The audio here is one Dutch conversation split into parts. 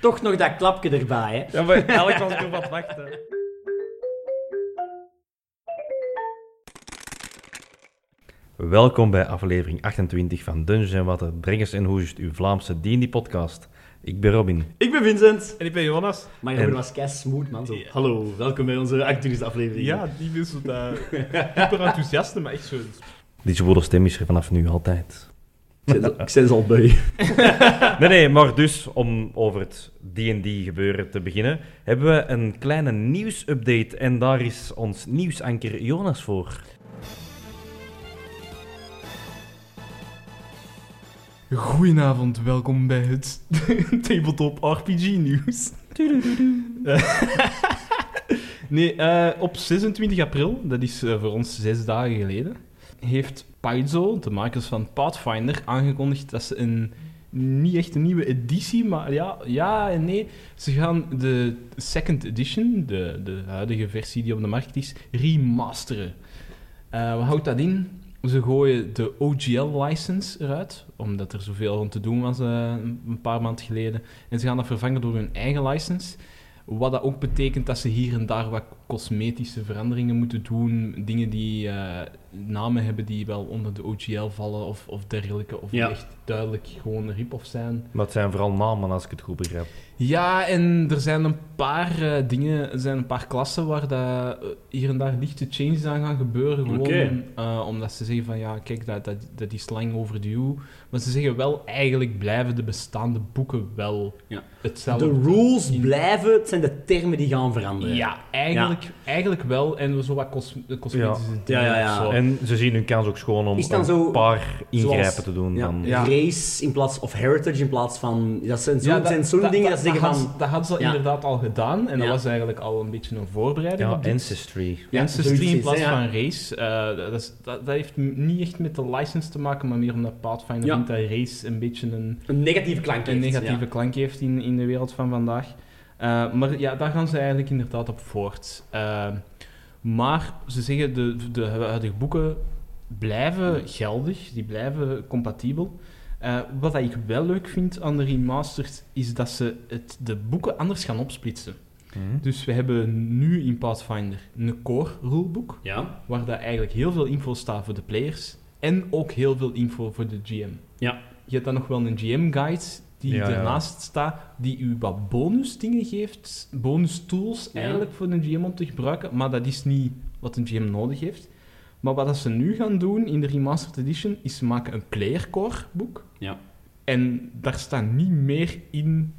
toch nog dat klapje erbij. Hè. Ja, maar elk was ik op wat wachten. Welkom bij aflevering 28 van Dungeons en Watten, Brengers en Hoesjes, uw Vlaamse D&D-podcast. Ik ben Robin. Ik ben Vincent. En ik ben Jonas. Maar Robin En- was kei smooth, man. Zo. Ja. Hallo, welkom bij onze actrice-aflevering. Ja, die is zo dat hyper enthousiaste, maar echt zo. Die zwoele stem is er vanaf nu altijd. Ik zit al- Ik zit al bij. Nee, nee, maar dus om over het D&D-gebeuren te beginnen, hebben we een kleine nieuwsupdate. En daar is ons nieuwsanker Jonas voor. Goedenavond, welkom bij het Tabletop RPG nieuws. Eh, nee, eh, op 26 april, dat is eh, voor ons zes dagen geleden, heeft Paizo, de makers van Pathfinder, aangekondigd dat ze een niet echt een nieuwe editie, maar ja, ja en nee. Ze gaan de second edition, de, de huidige versie die op de markt is, remasteren. Eh, wat houdt dat in? Ze gooien de OGL-license eruit, omdat er zoveel rond te doen was eh, een een paar maanden geleden. En ze gaan dat vervangen door hun eigen license. Wat dat ook betekent dat ze hier en daar wat cosmetische veranderingen moeten doen. Dingen die eh, namen hebben die wel onder de OGL vallen of, of dergelijke. Of Ja. die echt duidelijk gewoon een rip-off zijn. Maar het zijn vooral namen, als ik het goed begrijp. Ja, en er zijn een paar eh, dingen, er zijn een paar klassen waar dat, eh, hier en daar lichte changes aan gaan gebeuren. Gewoon Oké. eh, omdat ze zeggen van ja, kijk, dat, dat, dat is lang overdue. Maar ze zeggen wel, eigenlijk blijven de bestaande boeken wel Ja. hetzelfde. De rules In- blijven, het zijn de termen die gaan veranderen. Ja, eigenlijk, eigenlijk wel. En zo wat cos eh, cosmetische dingen. Ja, ja, ja. of zo. En ze zien hun kans ook schoon om Is dan een zo- paar ingrijpen zoals- te doen. Ja, Dan. Ja. Race in plaats of heritage in plaats van... Dat zijn zo'n Ja, zijn zo'n dingen dat ze zeggen had van... ze- Dat had ze Ja. inderdaad al gedaan. En Ja. dat was eigenlijk al een beetje een voorbereiding. Ja, op dit. Ancestry. Ja, Ja, zoiets Ancestry is, in plaats hè, ja. van race. eh, dat, is- dat, dat heeft m- niet echt met de license te maken, maar meer omdat Pathfinder Ja. vindt dat race een beetje een, Een negatieve klank een heeft, negatieve ja. klank heeft in, in de wereld van vandaag. Eh, maar ja, daar gaan ze eigenlijk inderdaad op voort. Eh, maar ze zeggen de, de huidige boeken blijven geldig, die blijven compatibel. Eh, wat ik wel leuk vind aan de remastered is dat ze het, de boeken anders gaan opsplitsen. Mhm. Dus we hebben nu in Pathfinder een core rulebook, Ja, waar daar eigenlijk heel veel info staat voor de players en ook heel veel info voor de GM. Ja. Je hebt dan nog wel een GM-guide die Ja, ja. ernaast staat, die u wat bonus dingen geeft, bonus tools Ja. eigenlijk voor een GM om te gebruiken, maar dat is niet wat een GM nodig heeft. Maar wat dat ze nu gaan doen in de Remastered Edition, is ze maken een player core boek. Ja. En daar staat niet meer in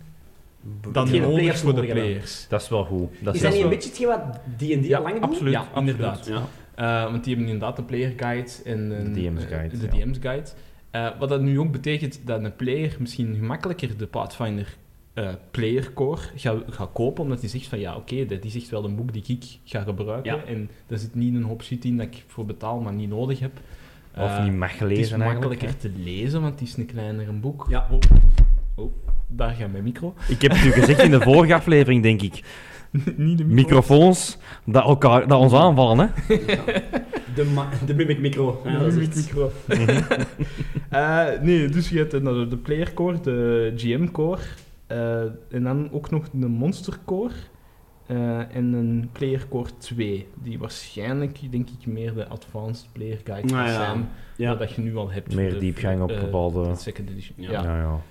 dan Hetgeen de nodig players voor de nodig hebben. players. Dat is wel goed. Dat Is dat is wel- niet een beetje hetgeen wat D&D Ja, al lang absoluut. Ja, inderdaad. doet? Ja. Eh, want die hebben inderdaad een player guide en een, eh, De DM's guide, de ja. DM's guide. Eh, wat dat nu ook betekent dat een player misschien gemakkelijker de Pathfinder eh, player core gaat gaat kopen, omdat hij zegt van ja, oké, dat is echt wel een boek die ik ga gebruiken. Ja. En daar zit niet een hoop shit in dat ik voor betaal, maar niet nodig heb. Of Eh, niet mag Het is lezen eigenlijk. makkelijker te lezen, want het is een kleiner boek. Ja. Oh, oh, daar gaat mijn micro. hè. Ik heb het u gezegd in de vorige aflevering, denk ik. niet de micro. Microfoons dat, elkaar, dat ons aanvallen, hè. De, ma- de Mimic Micro. Ja, dat is echt- micro. Eh, nee, dus je hebt inderdaad de player core, de GM core, eh, en dan ook nog de monster core eh, en een player core 2, die waarschijnlijk, denk ik, meer de advanced player guide Nou gaat ja, zijn, ja. dat je nu al hebt. Meer De- diepgang op eh, bepaalde- de second edition. Ja. Ja. Ja, ja.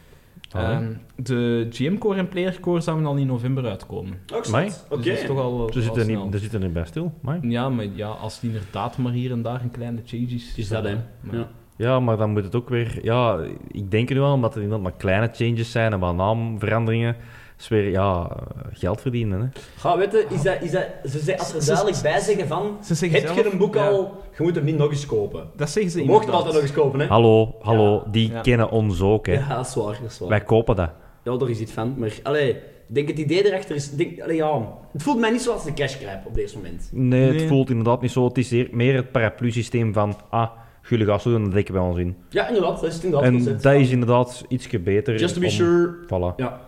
Allee. Ehm, de GM core en player core zouden al in november uitkomen. Ook Mij? zot. Dus dat is toch Oké. al, ze, al zitten snel. niet, ze zitten er niet bij stil, maar... Ja, maar ja, als het inderdaad maar hier en daar een kleine changes... Is dat, hè? Maar- Ja. Ja, maar dan moet het ook weer... Ja, ik denk er nu wel, omdat er inderdaad maar kleine changes zijn en wat naamveranderingen. is weer, ja, eh, geld verdienen, hè. Ga weten, is dat, is dat, ze zei, als ze Ze- duidelijk bij zeggen van... Ze zeggen Heb je zelf- een boek Ja. al, je moet hem niet nog eens kopen. Dat zeggen ze Je mocht hem inderdaad. altijd nog eens kopen, hè? Hallo, hallo, die Ja. kennen ons ook, hè. Ja, dat is waar, dat is waar. Wij kopen dat. Ja, daar is iets van, maar... Allee, ik denk het idee erachter is... ik Denk, allee, ja, het voelt mij niet zoals een cashcrap op deze moment. Nee, het Nee. voelt inderdaad niet zo. Het is hier meer het paraplu-systeem van... Ah, jullie gaan zo doen, dat dekken wij ons in. Ja, inderdaad, dat is het inderdaad. En concept. dat is inderdaad iets beter. Just to be om- sure. Voilà. Ja.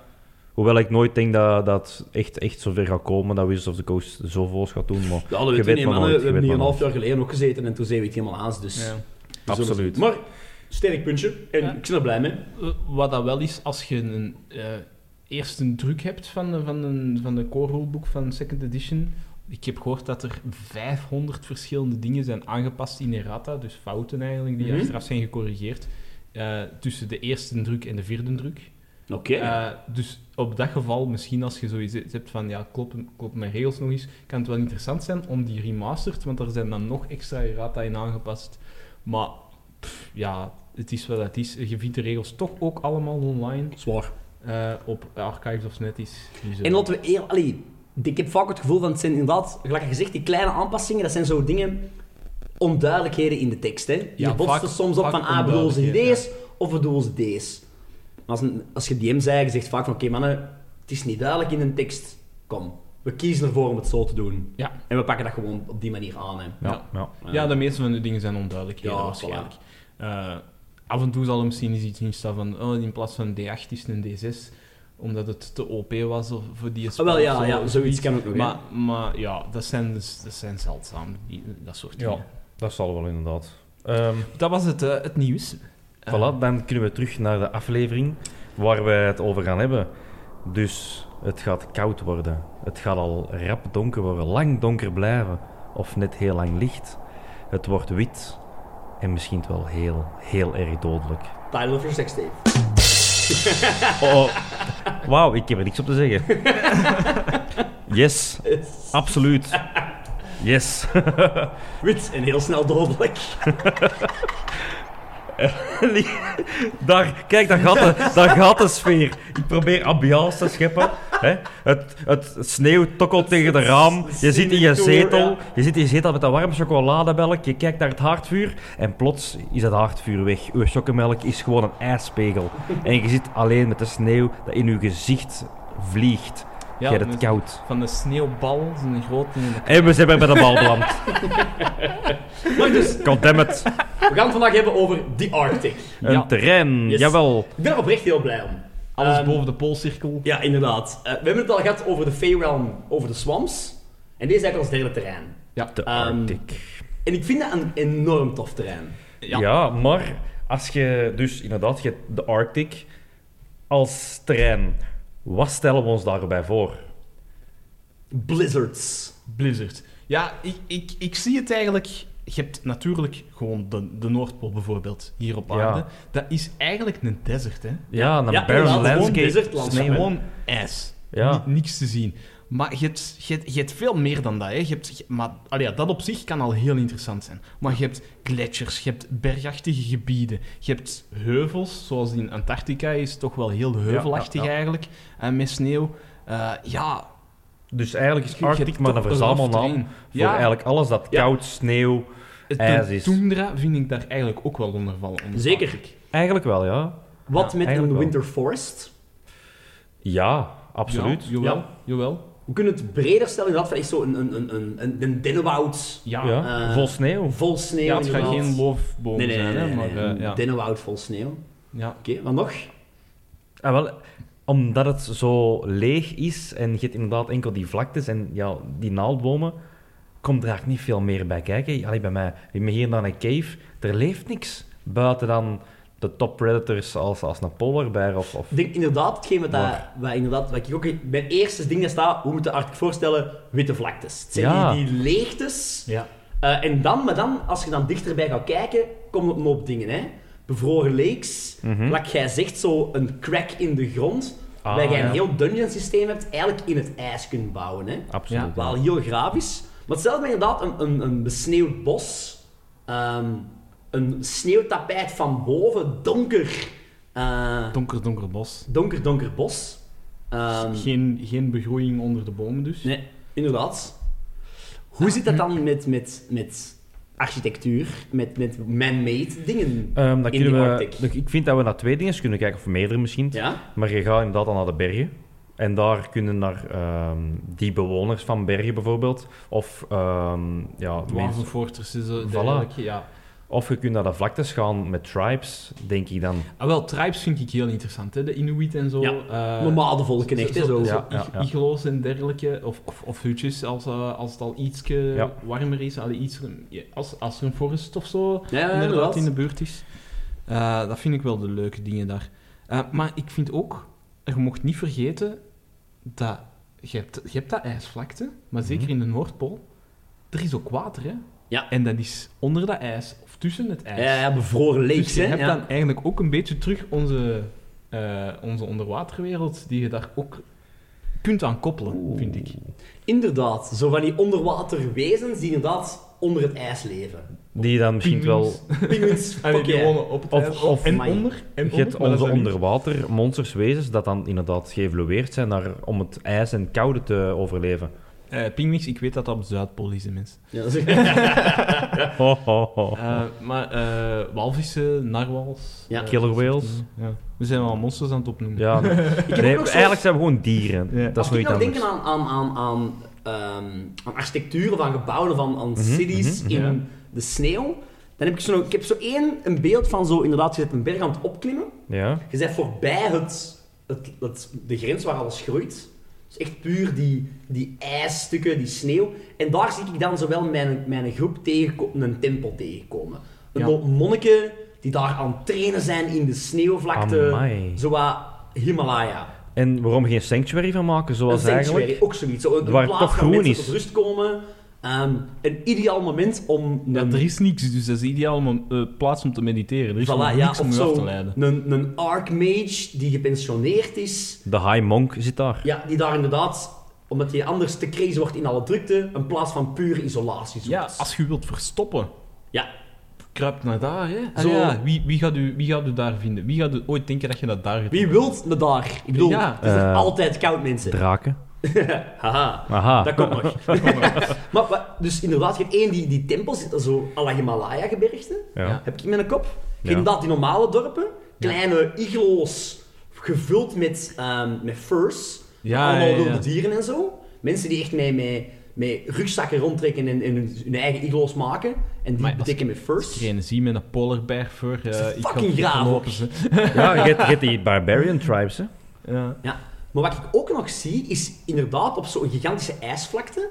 Hoewel ik nooit denk dat dat echt, echt zover gaat komen, dat Wizards of the Coast zoveel gaat doen. Maar Ja, dat je weet je weet niet, maar mannen. nooit, We je hebben weet hier een maar half jaar geleden ook gezeten en toen zeiden we het helemaal aan, dus... Ja. we zullen Absoluut. het- Maar, sterk puntje. En Ja. ik ben er blij mee. Eh, Wat dat wel is, als je een eh, eerste druk hebt van, de- van, een, van de core rulebook van Second Edition. Ik heb gehoord dat er 500 verschillende dingen zijn aangepast in errata, dus fouten eigenlijk, die Mhm. achteraf zijn gecorrigeerd, eh, tussen de eerste druk en de vierde druk. Oké. Eh, dus op dat geval, misschien als je zoiets hebt van, ja, kloppen, kloppen mijn regels nog eens, kan het wel interessant zijn om die remastered, want er zijn dan nog extra errata in aangepast. Maar, pff, ja, het is wat het is. Je vindt de regels toch ook allemaal online Zwaar. eh, op Archives of Netties. Dus, eh, En laten we eerlijk... Allee, ik heb vaak het gevoel van, het zijn inderdaad, gelijk gezegd, die kleine aanpassingen, dat zijn zo dingen, onduidelijkheden in de tekst. Hè. Je Ja, botst vaak- er soms op vaak van, ah, bedoelen ze onduidelijkheden, deze of bedoelen ze deze? Maar als, een- als je DM zei, je zegt vaak van, oké mannen, het is niet duidelijk in een tekst, kom. We kiezen ervoor om het zo te doen. Ja. En we pakken dat gewoon op die manier aan. Hè. Ja, ja. Ja, de meeste van de dingen zijn onduidelijk, Ja, waarschijnlijk. Eh, af en toe zal er misschien eens iets in staan van, oh, in plaats van D8 is het een D6, omdat het te OP was of voor die Ah, spel wel, of ja, zo, ja, of zoiets iets. kan ook nog. hè. Maar, maar ja, dat zijn, dus, dat zijn zeldzaam, die- dat soort Ja. dingen. Dat zal wel inderdaad. Ehm, Dat was het, eh, het nieuws. Eh, voilà, dan kunnen we terug naar de aflevering waar we het over gaan hebben. Dus het gaat koud worden. Het gaat al rap donker worden. Lang donker blijven. Of net heel lang licht. Het wordt wit. En misschien wel heel, heel erg dodelijk. Title of your sex tape. Oh, wauw, ik heb er niks op te zeggen. Yes, Ah. absoluut. Yes. Wit en heel snel dodelijk. Daar, kijk, daar gaat, de, daar gaat de sfeer. Ik probeer ambiance te scheppen. Hè? Het, het sneeuw tokkelt tegen de raam. Je zit in je zetel. Je zit in je zetel met dat warm chocolademelk. Je kijkt naar het haardvuur. En plots is dat haardvuur weg. Uw chocomelk is gewoon een ijspegel. En je zit alleen met de sneeuw dat in uw gezicht vliegt. Ja, Je hebt het dus koud. Van de sneeuwbal, zo'n grote... En we zijn weer bij de bal beland. Maar dus, Goddammit. we gaan het vandaag hebben over The Arctic. Een Ja. terrein. Yes. Jawel. Ik ben er oprecht heel blij om. Alles Ehm, boven de poolcirkel. Ja, inderdaad. Eh, we hebben het al gehad over de Feyrealm, over de swamps. En deze is eigenlijk ons derde terrein. De Ehm, Arctic. En ik vind dat een enorm tof terrein. Ja. maar als je dus inderdaad je hebt de Arctic als terrein, wat stellen we ons daarbij voor? Blizzards. Blizzard. Ja, ik, ik, ik zie het eigenlijk. Je hebt natuurlijk gewoon de, de Noordpool bijvoorbeeld hier op Ja. aarde. Dat is eigenlijk een desert, hè? Ja, een Ja, barren inderdaad, gewoon landscape. desert landschap, sneeuw. hè. Gewoon ijs. Ja. Ni- niks te zien. Maar je hebt, je, hebt, je hebt veel meer dan dat. Hè. Je hebt, je- maar allee, ja, dat op zich kan al heel interessant zijn. Maar je hebt gletsjers, je hebt bergachtige gebieden, je hebt heuvels, zoals in Antarctica is toch wel heel heuvelachtig ja. eigenlijk, en met sneeuw. Eh, ja, Dus eigenlijk je is hebt Arctic maar toch een verzamelnaam terrein. voor eigenlijk alles dat Ja. koud, sneeuw... Het ijs is. tundra vind ik daar eigenlijk ook wel onder vallen. onder Zeker. Arctic. Eigenlijk wel, ja. Wat Ja, met eigenlijk een wel. winter forest? Ja, absoluut. Ja, jawel, Ja. jawel. We kunnen het breder stellen inderdaad van echt zo een, een, een, een, een, een dennenwoud Ja, Ja, ja. Eh, vol sneeuw. vol sneeuw. het gaat inderdaad. geen loofboom Nee, nee, nee. zijn, nee, hè, maar nee. eh, Een ja. dennenwoud vol sneeuw. Oké, ja. wat nog? Ah, wel, omdat het zo leeg is en je hebt inderdaad enkel die vlaktes en ja, die naaldbomen, komt er eigenlijk niet veel meer bij kijken. Allee, bij mij, bij mij hier en daar een cave, er leeft niks buiten dan de top predators als, als een polarbeer of... of... Ik denk inderdaad, hetgeen wat, dat- Maar- wat inderdaad, wat ik ook... Mijn eerste ding dat staat, hoe moet de Arctic voorstellen? Witte vlaktes. Het zijn Ja. die, die leegtes. Ja. Eh, en dan, maar dan, als je dan dichterbij gaat kijken, komen er een hoop dingen, hè. Bevroren lakes, wat jij zegt, zo een crack in de grond, Mhm. Ah, waar jij een ja. heel dungeon systeem hebt, eigenlijk in het ijs kunt bouwen, hè. Absoluut. Wel heel grafisch. Maar hetzelfde met inderdaad een, een, een besneeuwd bos, ehm, een sneeuwtapijt van boven, donker, eh, Donker, donker bos. donker, donker bos. Ehm, Geen, geen begroeiing onder de bomen dus. Nee, inderdaad. Hoe zit dat dan met, met, met architectuur, met, met man-made dingen? Eh, Ehm, dan in kunnen die we, Arctic. dus ik vind dat we naar twee dingen kunnen kijken, of meerdere misschien. Ja? Maar je gaat inderdaad al naar de bergen. En daar kunnen naar ehm, die bewoners van bergen bijvoorbeeld, of ehm, ja, mensen, Dwarvenfortress is Voilà. voilà. dergelijke, ja. Of je kunt naar de vlaktes gaan met tribes, denk ik dan. Ah, wel, tribes vind ik heel interessant, hè. De Inuit en zo. Ja. eh, Normale volken, echt, hè, zo. Ja, ja, ig- ja. iglo's en dergelijke, of, of, of hutjes als, eh, als het al iets Ja. warmer is, allee, iets, ja, als, als er een forest of zo Ja, ja, inderdaad inderdaad. in de buurt is. Eh, dat vind ik wel de leuke dingen daar. Eh, maar ik vind ook je mocht niet vergeten dat je hebt, je hebt dat ijsvlakte, maar zeker in de Noordpool, er is ook water, hè? Ja. En dat is onder dat ijs of tussen het ijs. Ja, ja, bevroren leeks, dus je hè. hebt ja. dan eigenlijk ook een beetje terug onze, eh, onze onderwaterwereld, die je daar ook kunt aan koppelen, vind ik. Inderdaad, zo van die onderwaterwezens die inderdaad onder het ijs leven. Die dan misschien wel... Pinguïns. Pinguïns, Allee, fuck die yeah. wonen op het Of- ijs. of- en amai. onder. En Je hebt onder, maar dat onze zijn niet- onderwater monsters, wezens, dat dan inderdaad geëvolueerd zijn naar, om het ijs en koude te overleven. Eh, pinguïns, ik weet dat dat op de Zuidpool is, hè, mensen. Ja, dat is- Ho, ho, ho. Eh, maar eh, walvissen, narwals... Ja. eh, Killer whales. Ja. We zijn wel monsters aan het opnoemen. Ja, nee. ook Nee, nog zo- eigenlijk zijn we gewoon dieren. Ja. Dat is Als ik nooit nou anders. denken aan, aan, aan, aan, ehm, aan architecturen van gebouwen, van aan cities mhm, in ja. de sneeuw, dan heb ik zo, ik heb zo één een beeld van zo, inderdaad, je hebt een berg aan het opklimmen, Ja. je bent voorbij het, het, het, de grens waar alles groeit. Dus echt puur die, die ijsstukken, die sneeuw. En daar zie ik dan zowel mijn, mijn groep tegenko- een tempel tegenkomen. Een Ja. hoop monniken die daar aan het trainen zijn in de sneeuwvlakte. Amai. Zowat Himalaya. En waarom geen sanctuary van maken, zoals Een sanctuary, eigenlijk? ook zoiets. Zo, een Waar plaats toch waar groen mensen is. tot rust komen. Ehm, een ideaal moment om Ja, een, er is niks, dus dat is ideaal om een eh, plaats om te mediteren. Er is voilà, gewoon ja, niks om of je zo af te leiden. een, een archmage die gepensioneerd is. De High Monk zit daar. Ja, die daar inderdaad, omdat je anders te crazy wordt in alle drukte, een plaats van pure isolatie zoekt. Ja, als je wilt verstoppen, Ja. kruip naar daar. Hè? Ah Zo. ja, wie, wie, gaat u, wie gaat u daar vinden? Wie gaat u ooit denken dat je dat daar gaat Wie wilt me daar? Ik bedoel, Ja. het is er Eh, altijd koud, mensen. Draken. Haha. Aha. Dat komt nog. maar, maar, dus inderdaad, je hebt één die, die tempel zit, dan zo à la Himalaya-gebergte. Ja. Heb ik in mijn kop. Je hebt Ja. inderdaad die normale dorpen. Kleine iglo's, gevuld met, ehm met furs. Ja, allemaal ja, ja. wilde dieren en zo. Mensen die echt met, met, met rugzakken rondtrekken en, en hun, hun eigen iglo's maken. En die Maar als- bedekken met furs. Degene zie met een polar bear fur. eh, Dat is ik ga- fucking ik ga graaf, lopen, ook. ze. Ja, je hebt- je hebt die Barbarian Tribes, hè. Ja. Ja. Maar wat ik ook nog zie, is inderdaad op zo'n gigantische ijsvlakte,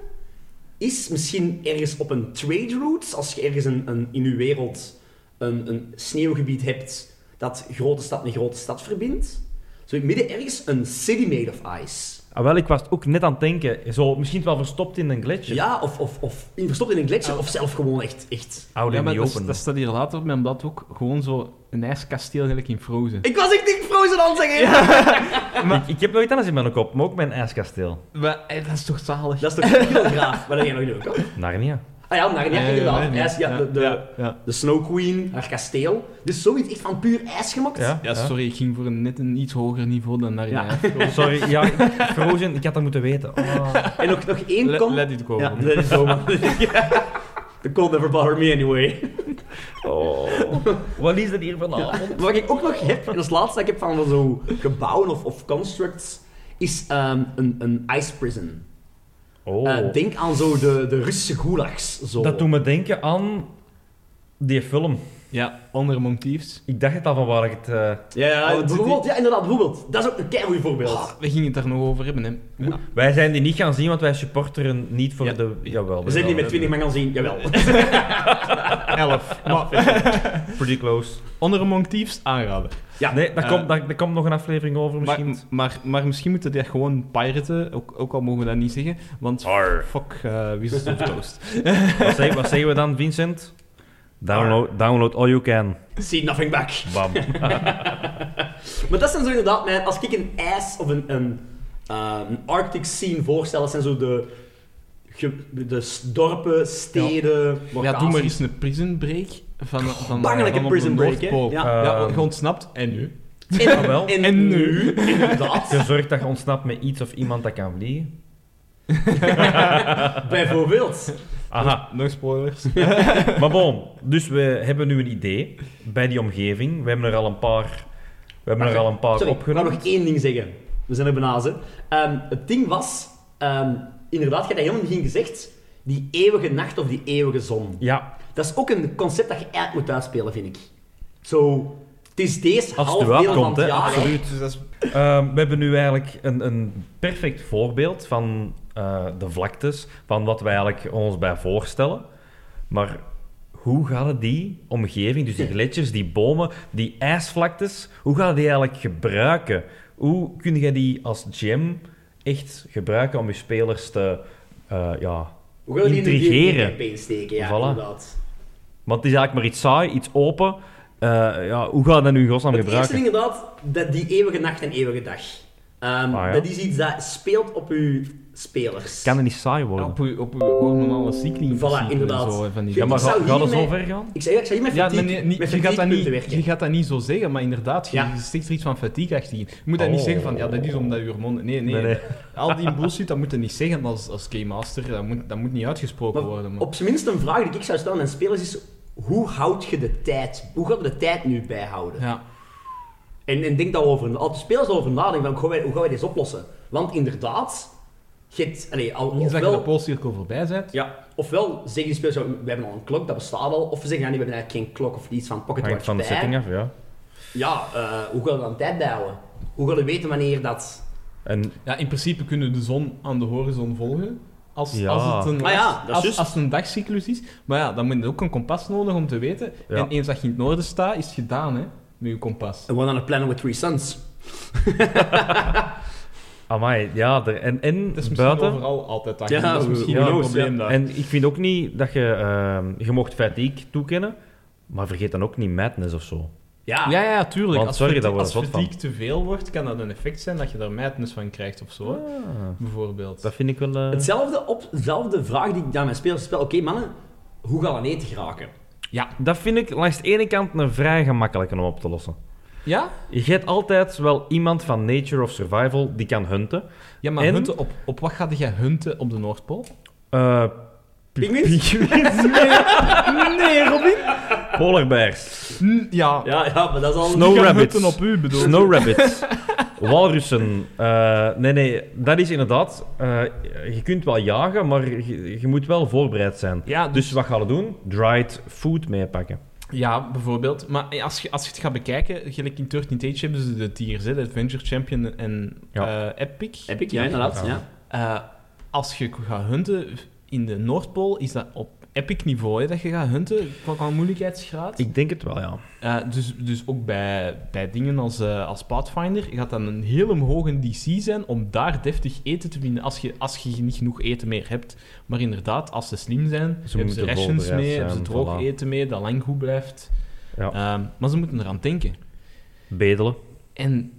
is misschien ergens op een trade route, als je ergens een, een, in je wereld een, een sneeuwgebied hebt dat grote stad met grote stad verbindt, zo in het midden ergens een city made of ice. Ah, wel, ik was het ook net aan het denken. Zo, misschien wel verstopt in een gletsjer. Ja, of, of, of in- verstopt in een Oh. gletsjer, of zelf gewoon echt... echt. Oude Ja, maar niet dat, open. dat staat hier later op mijn blad ook. Gewoon zo een ijskasteel gelijk in Frozen. Ik was echt niet Frozen aan het zeggen! ik, ik heb nooit anders in mijn kop, maar ook mijn ijskasteel. Maar eh, dat is toch zalig? Dat is toch heel graaf, maar dat heb je nog niet ook. Narnia. Ah ja, naar, ja, Nee, inderdaad. nee, nee. ijs, ja, de, de, ja, ja. de Snow Queen, haar kasteel. Dus zoiets echt van puur ijs gemaakt. Ja, Ja, sorry, ik ging voor een net een iets hoger niveau dan naar Ja. Oh, Sorry, ja, ik- Frozen, ik had dat moeten weten. Oh. En nog, nog één kom. Let it go. Ja, man. dat is zo. The cold never bothered me anyway. Wat is dat hier vanavond? Maar wat ik ook nog heb, en als laatste dat ik heb van zo gebouwen of, of constructs, is ehm, een, een ice prison. Oh. Eh, denk aan zo de, de Russische gulags. Zo. dat doet me denken aan die film. Ja, onder Monk Thieves. Ik dacht het al van waar ik het... eh, Ja, ja, Oh, dat bijvoorbeeld, ja, inderdaad, bijvoorbeeld. Dat is ook een keigoed voorbeeld. Ah, we gingen het daar nog over hebben, hè. Ja. Wij zijn die niet gaan zien, want wij supporteren niet voor Ja. de... Jawel. We zijn jawel. niet met 20 man gaan zien, jawel. Elf. Pretty close. Onder Monk Thieves aanraden. Ja. Nee, daar, Eh, komt, daar, daar komt nog een aflevering over misschien. Maar, maar, maar misschien moeten die gewoon piraten, ook, ook al mogen we dat niet zeggen, want Arr. fuck eh Wizards of Toast. Wat, zeggen, wat zeggen we dan, Vincent? Download, download all you can. See nothing back. Bam. Maar dat zijn zo inderdaad mijn... Als ik een ijs of een, een, eh, een arctic scene voorstel, dat zijn zo de, ge- de s- dorpen, steden, Ja, locaties. doe maar eens een prison break van, van, van, Bangelijke op prison de break, hè? Noordpool. Ja. Eh, Ja, want je ontsnapt en nu. En, Ah, wel. en, En nu. nu, Je inderdaad. zorgt dat je ontsnapt met iets of iemand dat kan vliegen. Bijvoorbeeld. Aha. Nog spoilers. Maar bon, dus we hebben nu een idee bij die omgeving. We hebben er al een paar, we hebben er al een paar Sorry, ik wou opgenomen. nog één ding zeggen. We zijn er bijna, hè. Ehm, het ding was, ehm, inderdaad, je hebt dat helemaal in het begin gezegd, die eeuwige nacht of die eeuwige zon. Ja, Dat is ook een concept dat je eigenlijk moet uitspelen, vind ik. Zo, het is deze als half het deel wel van komt, het hè, jaar. absoluut. Dus dat is Ehm, we hebben nu eigenlijk een, een perfect voorbeeld van eh, de vlaktes, van wat wij eigenlijk ons bij voorstellen. Maar hoe gaat het die omgeving, dus die gletsjers, die bomen, die ijsvlaktes, hoe gaan die eigenlijk gebruiken? Hoe kun je die als gem echt gebruiken om je spelers te... eh, ja. Hoe gaan we die in de Intrigeren. campaign steken? Ja, Voilà. inderdaad. Want het is eigenlijk maar iets saai, iets open. Eh, ja, hoe ga je dat nu in godsnaam Het eerste gebruiken? ding inderdaad, dat die eeuwige nacht en eeuwige dag. Ehm, Ah, ja. Dat is iets dat speelt op uw spelers. Kan het niet saai worden? Op uw, op uw gewoon normale cycling. Voilà, inderdaad. van die Ja, Ja, maar ik zou ga, ga dat zo hiermee- ver gaan? Ik zeg, ik zeg hier met Ja, fatigue, nee, nee, met niet, je, gaat dat niet, fatiguepunten werken. je gaat dat niet zo zeggen, maar inderdaad, je Ja. stikt er iets van fatigue achter in. Je moet dat niet Oh. zeggen van, ja, dat is omdat je hormonen... Nee, nee. Nee, nee. Al die bullshit, dat moet je niet zeggen als, als game master. Dat moet, dat moet niet uitgesproken Maar worden. man. Op zijn minst een vraag die ik zou stellen aan spelers is... Hoe houd je de tijd? Hoe gaan we de tijd nu bijhouden? Ja. En, en denk daarover, als de spelers over nadenken, van, hoe, gaan wij, hoe gaan wij dit oplossen? Want inderdaad, je hebt- allee, al, Niet dat je de ofwel, poolcirkel voorbij bent. ja, ofwel zeggen die spelers, ja, we hebben al een klok, dat bestaat al. Of we zeggen, ja, nee, we hebben eigenlijk geen klok of iets van Pocket Hangt Watch van de bij. setting af, ja. Ja, eh, hoe gaan we dan tijd bijhouden? Hoe gaan we weten wanneer dat... En Ja, in principe kunnen we de zon aan de horizon volgen. Als, Ja. als, het een, Ah ja, dat als, is als, juist. als het een dagcyclus is. Maar ja, dan moet je ook een kompas nodig om te weten. Ja. En eens dat je in het noorden staat, is het gedaan, hè. Met je kompas. En we gaan een planet with three suns. Amai, ja, er- en, en Het is misschien buiten. overal altijd dag. Ja, dat is who- misschien who wel een knows, probleem ja. daar. En ik vind ook niet dat je... ehm je mocht fatigue toekennen, maar vergeet dan ook niet madness of zo. Ja, Ja, ja, tuurlijk. Want als sorry, fati- daar word als ik zot van. fatigue te veel wordt, kan dat een effect zijn dat je daar madness van krijgt of zo. hè, Ah, Bijvoorbeeld. dat vind ik wel... eh, Hetzelfde, op, dezelfde vraag die ik aan mijn spelers stel. Oké, mannen, hoe gaan we aan eten geraken? Dat vind ik langs de ene kant een vrij gemakkelijke om op te lossen. Ja? Je hebt altijd wel iemand van nature of survival die kan hunten. Ja, maar En- hunten op, op wat gaat jij hunten op de Noordpool? Eh Pinguïns? Nee, Robin. polar bears, Ja. Ja, ja, maar dat is al... Snow Die gaan rabbits. hunten op u, bedoel snow rabbits, walrussen. Eh, nee, nee, dat is inderdaad... eh, je kunt wel jagen, maar je, je moet wel voorbereid zijn. Ja, Dus wat gaan we doen? Dried food meepakken. Ja, bijvoorbeeld. Maar als je, als je het gaat bekijken, gelijk in 13 Age hebben ze de tiers, hè, de Adventure Champion en Ja. eh, Epic. Heb ik, ja, inderdaad. Ja. Eh, als je gaat hunten in de Noordpool, is dat op Epic niveau hè, dat je gaat hunten, qua- qua moeilijkheidsgraad. Ik denk het wel, ja. Eh, dus, dus ook bij, bij dingen als, eh, als Pathfinder gaat dan een hele hoge DC zijn om daar deftig eten te vinden als je, als je niet genoeg eten meer hebt. Maar inderdaad, als ze slim zijn, Ze hebben ze moeten rations voorbereid mee, hebben ze zijn, droog voilà. eten mee, dat lang goed blijft. Ja. Ehm, maar ze moeten eraan denken. Bedelen. En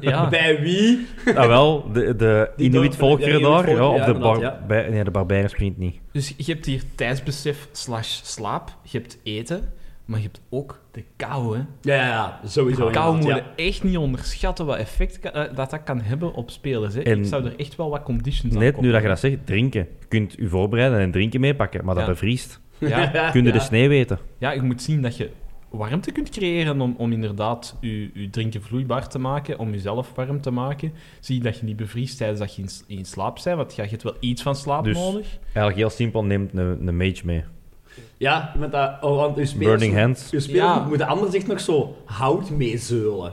ja, Bij wie? Ah wel, de, de Die Inuit dorpen, ja, volkeren Inuit daar, ja, volkeren, of ja, de, inderdaad, bar ja. bij- nee, de barbaren springt niet. dus je hebt hier tijdsbesef slash slaap, je hebt eten, maar je hebt ook de kou, hè. Ja, ja, ja, sowieso. kou moet inderdaad, je echt niet onderschatten wat effect ka- eh, dat dat kan hebben op spelers, hè. En Ik zou er echt wel wat conditions aan Net nu koppelen. dat je dat zegt, drinken. Je kunt je voorbereiden en drinken meepakken, maar dat Ja. bevriest. Ja, ja. Kun je Ah, Ja. dus- de sneeuw eten? ja, je moet zien dat je warmte kunt creëren om, om inderdaad je, je drinken vloeibaar te maken, om jezelf warm te maken. Zie dat je niet bevriest tijdens dat je in, s- in slaap bent, want ja, je hebt wel iets van slaap Dus- nodig. Eigenlijk heel simpel, neemt een, een mage mee. Ja, met dat... Oh, want uw spelers... Burning hands. Uw spelers Ja. moeten anders echt nog zo hout mee zeulen.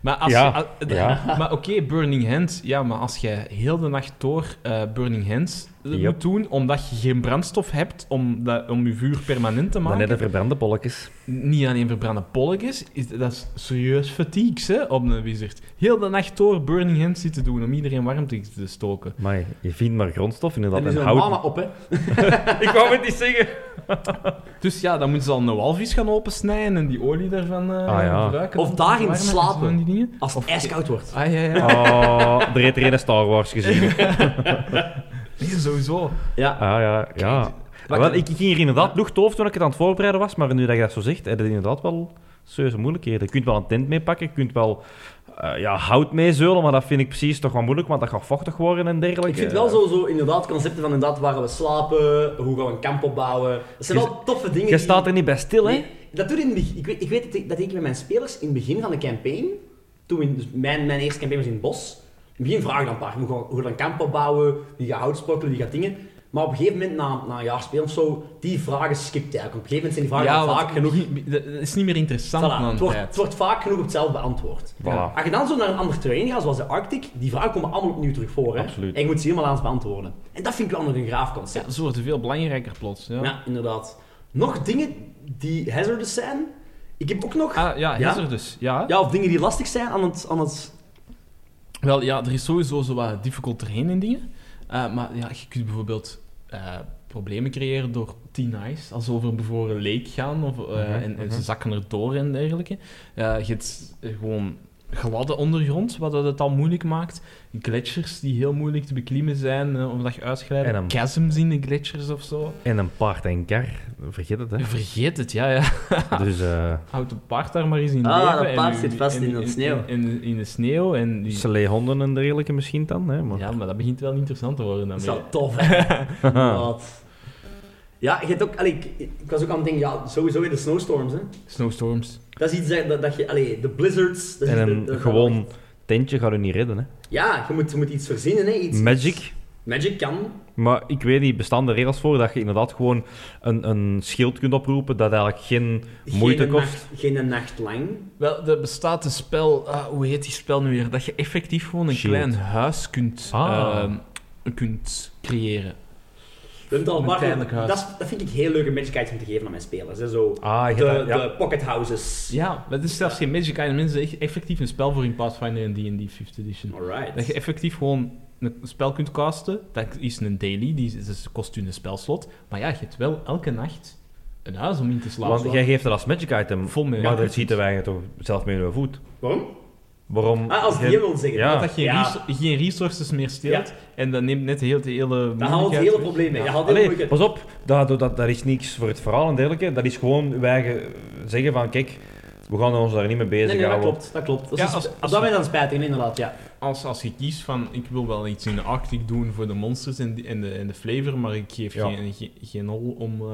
Maar, als Ja, je- a- d- ja. maar oké, Burning Hands. Ja, maar als jij heel de nacht door eh, Burning Hands eh, Yep. moet doen, omdat je geen brandstof hebt om, dat, om je vuur permanent te Maar maken, net de verbrande polletjes. niet alleen verbrande polletjes, is, dat is serieus fatigue hè, op een wizard. Heel de nacht door Burning Hands zitten doen om iedereen warmte te stoken. Maar je vindt maar grondstof inderdaad. Dat is En een hout. mama op, hè. Ik wou het niet zeggen. Dus ja, dan moeten ze al een walvis gaan opensnijden en die olie daarvan eh, Ah, ja. gebruiken. Of om te daarin verwarmen, slapen. zo van die dingen. Als het ijskoud wordt. Ah, ja, ja. Oh, er heeft er een Star Wars gezien. Nee, sowieso. Ja. Ah ja, ja. Ah, Wat- Wel, ik ik ging hier inderdaad lucht over toen ik het aan het voorbereiden was, maar nu dat je dat zo zegt, heb je inderdaad wel serieuze moeilijkheden. Je kunt wel een tent meepakken, je kunt wel eh, ja, hout meezeulen, maar dat vind ik precies toch wel moeilijk, want dat gaat vochtig worden en dergelijke. Ik vind wel zo, zo inderdaad concepten van inderdaad waar we slapen, hoe gaan we een kamp opbouwen. Dat zijn Je- wel toffe dingen Eh, Je die- staat er niet bij stil, hè? Nee, dat doe ik in het begin. Ik weet, ik weet dat, ik, dat ik met mijn spelers in het begin van de campaign, toen we in- dus mijn, mijn eerste campaign was in het bos, in het begin vragen dan een paar, hoe gaan, hoe gaan we een kamp opbouwen, die gaat hout sprokkelen, die gaat dingen. Maar op een gegeven moment, na, na een jaar spelen of zo, die vragen skipt eigenlijk. Op een gegeven moment zijn die vragen al want vaak genoeg... het begin- Dat is niet meer interessant Voilà, na een het, wordt, tijd. het wordt vaak genoeg op hetzelfde beantwoord. Voilà. Als je dan zo naar een ander terrein gaat, zoals de Arctic, die vragen komen allemaal opnieuw terug voor. Hè? Absoluut. En je moet ze helemaal aan het beantwoorden. En dat vind ik wel nog een graaf concept. Ja, ze worden veel belangrijker plots. Ja, Ja, inderdaad. Nog dingen die hazardous zijn. Ik heb ook nog... Ah, ja, Ja? Hazardous. Ja. Ja, of dingen die lastig zijn aan het, aan het Wel, ja, er is sowieso zo wat difficult terrein in dingen. Eh, maar ja, je kunt bijvoorbeeld eh, problemen creëren door T-Nice. Als ze over bijvoorbeeld een leek gaan of, eh, Mhm, en, en mhm. ze zakken erdoor en dergelijke. Eh, je hebt eh, gewoon gladde ondergrond, wat dat het al moeilijk maakt. Gletsjers die heel moeilijk te beklimmen zijn, eh, omdat je uitglijdt. En een- Chasms in de gletsjers of zo. En een paard en kar, vergeet het, hè. Vergeet het, ja, ja. Dus eh Houd de paard daar maar eens in Ah, leven dat en paard u- zit vast en- in dat en- sneeuw. en- en- in de sneeuw. En die- sleehonden en dergelijke misschien dan, hè. Maar... Ja, maar dat begint wel interessant te worden. Dan Dat is weer. wel tof, hè? Inderdaad. Ja, je hebt ook, allee, ik, ik was ook aan het denken, ja, sowieso weer de snowstorms. Hè. Snowstorms. Dat is iets dat, dat, dat je, allee, de blizzards. Dat is En iets een dat- dat- gewoon tentje gaat u niet redden, hè. Ja, je moet, je moet iets verzinnen, hè? Iets, Magic. Magic kan. Maar ik weet niet, bestaan er regels voor dat je inderdaad gewoon een, een schild kunt oproepen dat eigenlijk geen moeite geen kost? Nacht, geen nacht lang. Wel, er bestaat een spel, ah, hoe heet die spel nu weer? Dat je effectief gewoon een Shield. klein huis kunt, Ah. ehm, kunt creëren. We hebben het al Een een paar tijdelijk keer- huis. dat, is- dat vind ik heel leuke magic items om te geven aan mijn spelers. Hè? Zo, Ah, je de, hebt- ja. de pocket houses. Ja, dat is zelfs geen Magic Item. Mensen is effectief een spel voor in Pathfinder en D&D 5th Edition. Alright. Dat je effectief gewoon een spel kunt casten. Dat is een daily, die is- dus kost u een spelslot. Maar ja, je hebt wel elke nacht een huis om in te slapen. Want jij geeft het als magic item, Vol met- maar Ja. dat ziet wij toch zelf mee in je voet. Waarom? Waarom? Ah, als die geen- wil zeggen. Ja. Dat dat geen, Ja. res- geen resources meer steelt. En dat neemt net heel de hele... Dat haalt het hele probleem mee. Ja. Dat haalt heel Allee, moeilijk- pas op, dat, dat, dat is niks voor het verhaal en dergelijke. Dat is gewoon wij eigen zeggen van, kijk, we gaan ons daar niet mee Nee, nee, dat bezighouden. klopt. Dat klopt. Dat Ja, is, dus- als- als, als- dat ben je dan spijtig, inderdaad. Ja. Als, als je kiest van, ik wil wel iets in de Arctic doen voor de monsters en, die- en, de, en de flavor, maar ik geef Ja. geen, geen, geen hol om, eh,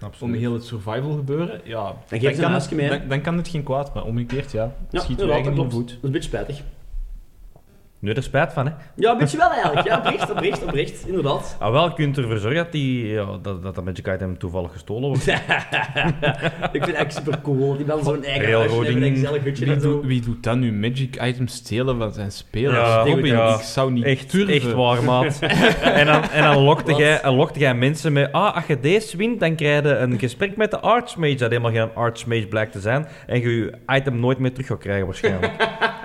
om Absoluut. heel het survival gebeuren, ja, geef ze een kan het, huisje mee, hè? dan, dan kan het geen kwaad, maar omgekeerd, ja, Ja, schiet je inderdaad, eigen dat in klopt. de voet. Dat is een beetje spijtig. Nu er spijt van, hè. Ja, een beetje wel eigenlijk. Ja, oprecht, oprecht, oprecht. Inderdaad. Ah, wel, je kunt ervoor zorgen dat, die, ja, dat, dat dat magic item toevallig gestolen wordt. Ik vind het echt super cool. Die dan zo'n eigen Railroading. huisje hebben, een gezellig hutje Wie, en zo. doet- wie doet dan nu magic items stelen van zijn spelers? Ja, Robin, ja. ik zou niet Echt, durven. echt waar, maat. en dan, en dan lokte Wat? jij, en lokte jij mensen met... Ah, als je deze wint, dan krijg je een gesprek met de Archmage. Dat helemaal geen Archmage blijkt te zijn. En je je item nooit meer terug gaat krijgen, waarschijnlijk.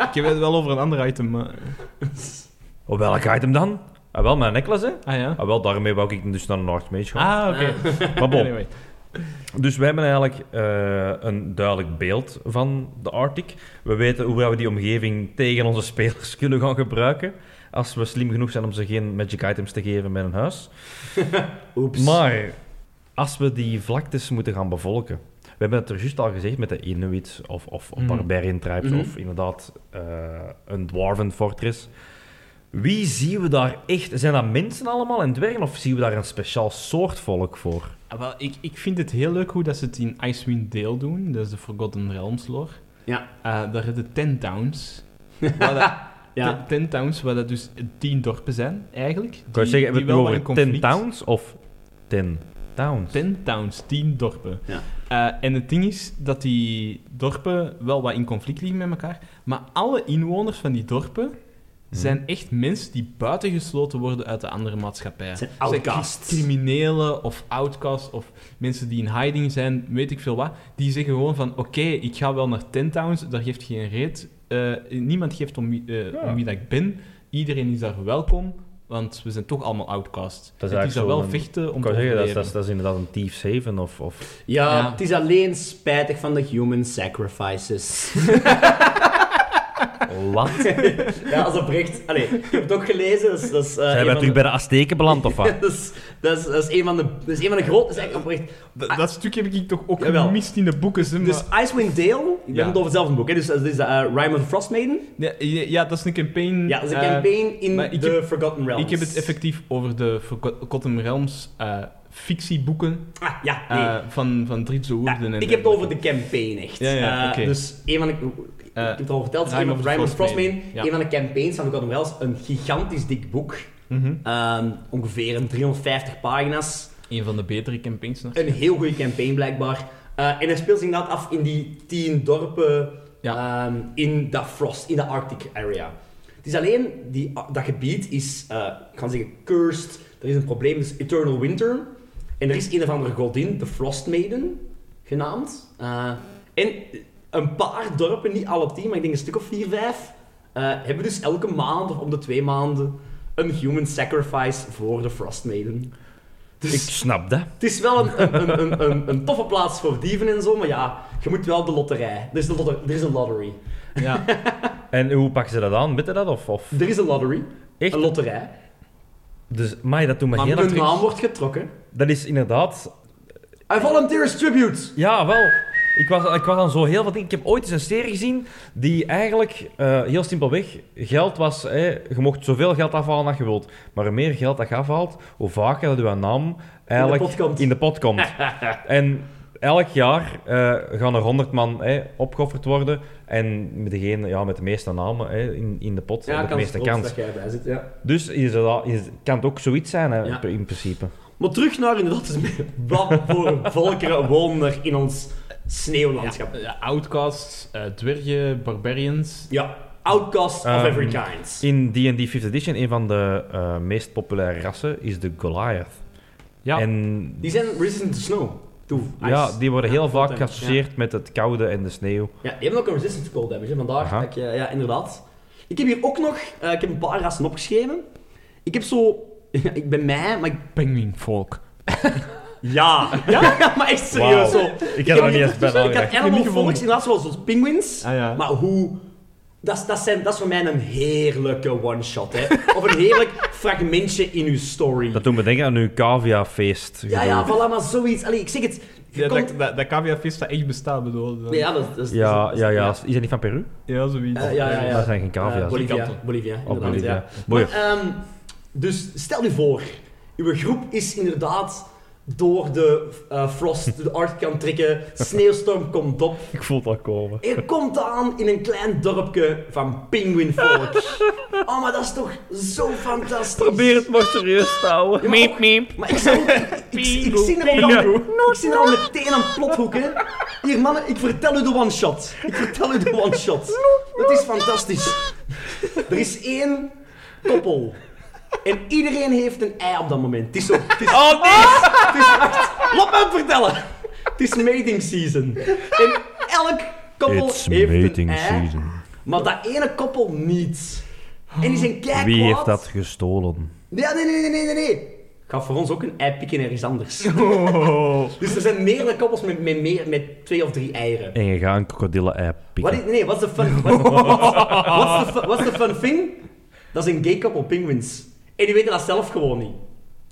Ik heb het wel over een ander item, maar... Op welk Oh, item dan? Ah, wel, mijn necklace, hè. Ah ja? Ah, wel, daarmee wou ik dus naar een Archmage gaan. Ah, oké. maar bon. Anyway. Dus we hebben eigenlijk eh, een duidelijk beeld van de Arctic. We weten hoe we die omgeving tegen onze spelers kunnen gaan gebruiken. Als we slim genoeg zijn om ze geen magic items te geven met een huis. Oeps. Maar als we die vlaktes moeten gaan bevolken. We hebben het er juist al gezegd met de Inuit of, of Mhm. Barbarian Tribes Mhm. of inderdaad eh, een Dwarven Fortress. Wie zien we daar echt? Zijn dat mensen allemaal en dwergen of zien we daar een speciaal soort volk voor? Ah, wel, ik, ik vind het heel leuk hoe dat ze het in Icewind Dale doen. Dat is de Forgotten Realms lore. Ja. Eh, daar hebben de Ten Towns. waar dat, Ja. ten, ten Towns, waar dat dus tien dorpen zijn, eigenlijk. Die, Ik je zeggen, die hebben we wel het wat nu over conflict- Ten Towns of Ten Towns? Ten Towns, tien dorpen. Ja. Eh, en het ding is dat die dorpen wel wat in conflict liggen met elkaar. Maar alle inwoners van die dorpen Hm. Mhm. zijn echt mensen die buitengesloten worden uit de andere maatschappij. Het zijn Zijn outcasts. cri- criminelen of outcasts of mensen die in hiding zijn, weet ik veel wat. Die zeggen gewoon van, oké, ik ga wel naar Ten Towns, daar geeft geen reet. eh, niemand geeft om wie, eh, Ja. om wie dat ik ben. Iedereen is daar welkom, want we zijn toch allemaal outcasts. Dat is het is dan eigenlijk wel zo'n- vechten om Ik te kan zeggen, dat is, overleven. dat, is, dat is inderdaad een Thieves Haven of... of... Ja, Ja. het is alleen spijtig van de human sacrifices. Wat? ja, als oprecht. Allee, ik heb het ook gelezen. Dat is, dat is, eh, Zijn een wij van terug bij de Azteken beland of wat? dat, is, dat, is, dat is een van de, dat is een van de grote... Dat is eigenlijk oprecht. Dat, dat stuk heb ik toch ook Jawel. gemist in de boeken. Hè, Dus maar- Icewind Dale, ik ben Ja. het over hetzelfde boek, hè. dus dat is de eh, Rime of the Frostmaiden. ja, ja, ja, dat is een campaign. Ja, dat is een eh, campaign in maar ik The heb- Forgotten Realms. ik heb het effectief over de Forgotten Realms eh, fictieboeken Ah, ja, eh, nee. van, van Dritse Ja, Woerden. en ik heb het over de campaign, echt. Ja, ja, Eh, oké. Eh, Dus een van de... Ik heb het al verteld, het is een Rime van de of the Rime of the Frostmaiden. Frostmaiden. Ja. Een van de campaigns van Forgotten Realms. Een gigantisch dik boek. Mhm. Ehm, ongeveer een 350 pagina's. Een van de betere campaigns. nog. Een heel goede campaign, blijkbaar. Eh, en dat speelt zich inderdaad af in die tien dorpen ehm, in de Frost, in de Arctic area. Het is alleen, die, dat gebied is, eh, ik kan zeggen, cursed. Er is een probleem, dus Eternal Winter. En er is een of andere godin, de Frost Maiden, genaamd. Eh, en een paar dorpen, niet alle tien, maar ik denk een stuk of vier, vijf, eh, hebben we dus elke maand of om de twee maanden een human sacrifice voor de Frost Maiden. Dus Ik snap dat. het is wel een, een, een, een, een, een toffe plaats voor dieven en zo, maar ja, je moet wel de loterij. Er is, de lotter- er is een lottery. Ja. En hoe pakken ze dat aan? Weten dat? Of, of... Er is een lottery. Echt? Een loterij. Dus, maar dat doet me Maar geen hun indruk. naam wordt getrokken. Dat is inderdaad... I volunteer as tribute! Ja, wel. Ik was, ik was aan zo heel wat dingen. Ik heb ooit eens een serie gezien die eigenlijk eh, heel simpelweg geld was. Hè, je mocht zoveel geld afhalen als je wilt. Maar hoe meer geld dat je afhaalt, hoe vaker dat je naam eigenlijk In de pot komt. in de pot komt. en elk jaar eh, gaan er 100 man hè, opgeofferd worden. En met degene ja, met de meeste namen hè, in, in de pot, Ja, met de kans meeste groot kans. dat jij bij zit, ja. Dus is dat, is, kan het ook zoiets zijn, hè, Ja. in principe. Maar terug naar inderdaad, dus wat voor volkeren wonen er in ons sneeuwlandschap? Ja, Ja, outcasts, eh, dwergen, barbarians. outcasts of Ehm, every kind. In D&D 5th Edition, een van de eh, meest populaire rassen is de Goliath. Ja. En Die zijn resistant to snow. To ice. ja, die worden heel Ja, vaak content, geassocieerd met het koude en de sneeuw. Ja, die hebben ook een resistant to cold damage, hè, vandaar Aha. dat ik, eh, ja, inderdaad. Ik heb hier ook nog, eh, ik heb een paar rassen opgeschreven. Ik heb zo, ik ben mij, maar ik... Penguinvolk. Ja! ja? maar echt serieus Wauw. zo. Ik heb er niet eens bij Ik had nagedacht. animal Niet gevonden. folks, inderdaad, zoals, zoals penguins. Ah ja. Maar hoe... Dat is, dat, zijn, dat is voor mij een heerlijke one-shot, hè. Of een heerlijk fragmentje in uw story. Dat doet me denken aan uw caviafeest. Ja, ja, voilà, maar zoiets. Allee, ik zeg het. Je Ja, komt... dat, dat, dat caviarvis dat echt bestaat, bedoel je dan? Nee, ja, dat, dat is... ja, dat is- ja, ja. Is dat niet van Peru? Ja, zoiets. Eh, ja, ja, ja. Dat zijn Eh, geen cavia's. Bolivia, Kanten. Bolivia, Of inderdaad, Bolivia. ja. Boeien. Maar, ehm, dus stel u voor, uw groep is inderdaad door de eh, frost de art kan trekken, sneeuwstorm komt op, Ik voel dat komen. Er komt aan in een klein dorpje van pinguïnvolk. Oh, maar dat is toch zo fantastisch. Probeer het maar serieus te houden. Miep, Maar ik, zou, ik, ik, ik zie er al, Pingu. ik zie er al meteen aan plothoeken. Hier, mannen, ik vertel u de one-shot. Ik vertel u de one-shot. Dat is fantastisch. Er is één koppel. En iedereen heeft een ei op dat moment. Het is zo... Het is, Oh nee! het is echt... Laat me het vertellen. Het is mating season. En elk koppel heeft een ei. Maar dat ene koppel niet. En die zijn kijk Wie heeft dat gestolen? Ja, nee, nee, nee, nee, nee, nee. Gaat voor ons ook een ei pikken ergens anders. Oh. dus er zijn meerdere koppels met, met, meer- met twee of drie eieren. En je gaat een krokodillen-ei Wat pikken. is, nee, what's the fun... What's, what's the fun, what's the fun thing? Dat is een gay koppel penguins. En die weten dat zelf gewoon niet.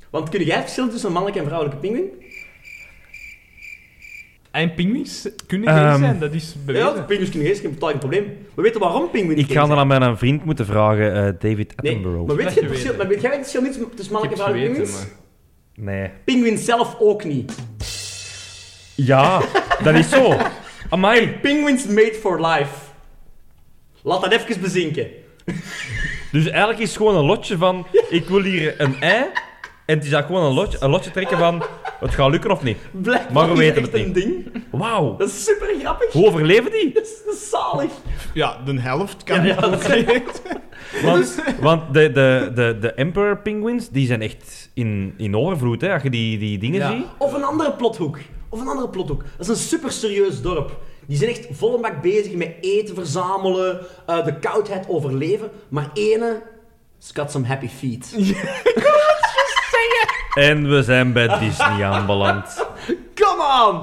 Want kun jij het verschil tussen een mannelijke en vrouwelijke pinguïn? En pinguïns kunnen geen Ehm, zijn, dat is Ja, bewezen. de pinguïns kunnen geen geen totaal geen probleem. We weten waarom pinguïns Ik gay ga zijn. dan aan mijn vriend moeten vragen, eh, David Nee, Attenborough. maar weet Dat je je het verschil, weet. maar weet jij het verschil niet tussen ik heb mannelijke het en vrouwelijke geweten, pinguïns? maar... Nee. Pinguïn zelf ook niet. Ja, dat is zo. Amai. Penguins made for life. Laat dat even bezinken. Dus eigenlijk is het gewoon een lotje van... Ik wil hier een ei. En het is eigenlijk gewoon een lotje, een lotje trekken van... Het gaat lukken of niet. Blijkbaar Maar we is weten echt het een niet. ding. Wauw. Dat is super grappig. Hoe overleven die? Dat is, dat is zalig. Ja, de helft Ja, kan ja, dat dat- Want, want de, de, de, de Emperor Penguins, die zijn echt in, in overvloed, hè. Als je die, die dingen Ja. ziet. Of een andere plothoek. Of een andere plothoek. Dat is een super serieus dorp. Die zijn echt volle bak bezig met eten verzamelen, eh, de koudheid overleven. Maar ene, has got some happy feet. En we zijn bij Disney aanbeland. Come on!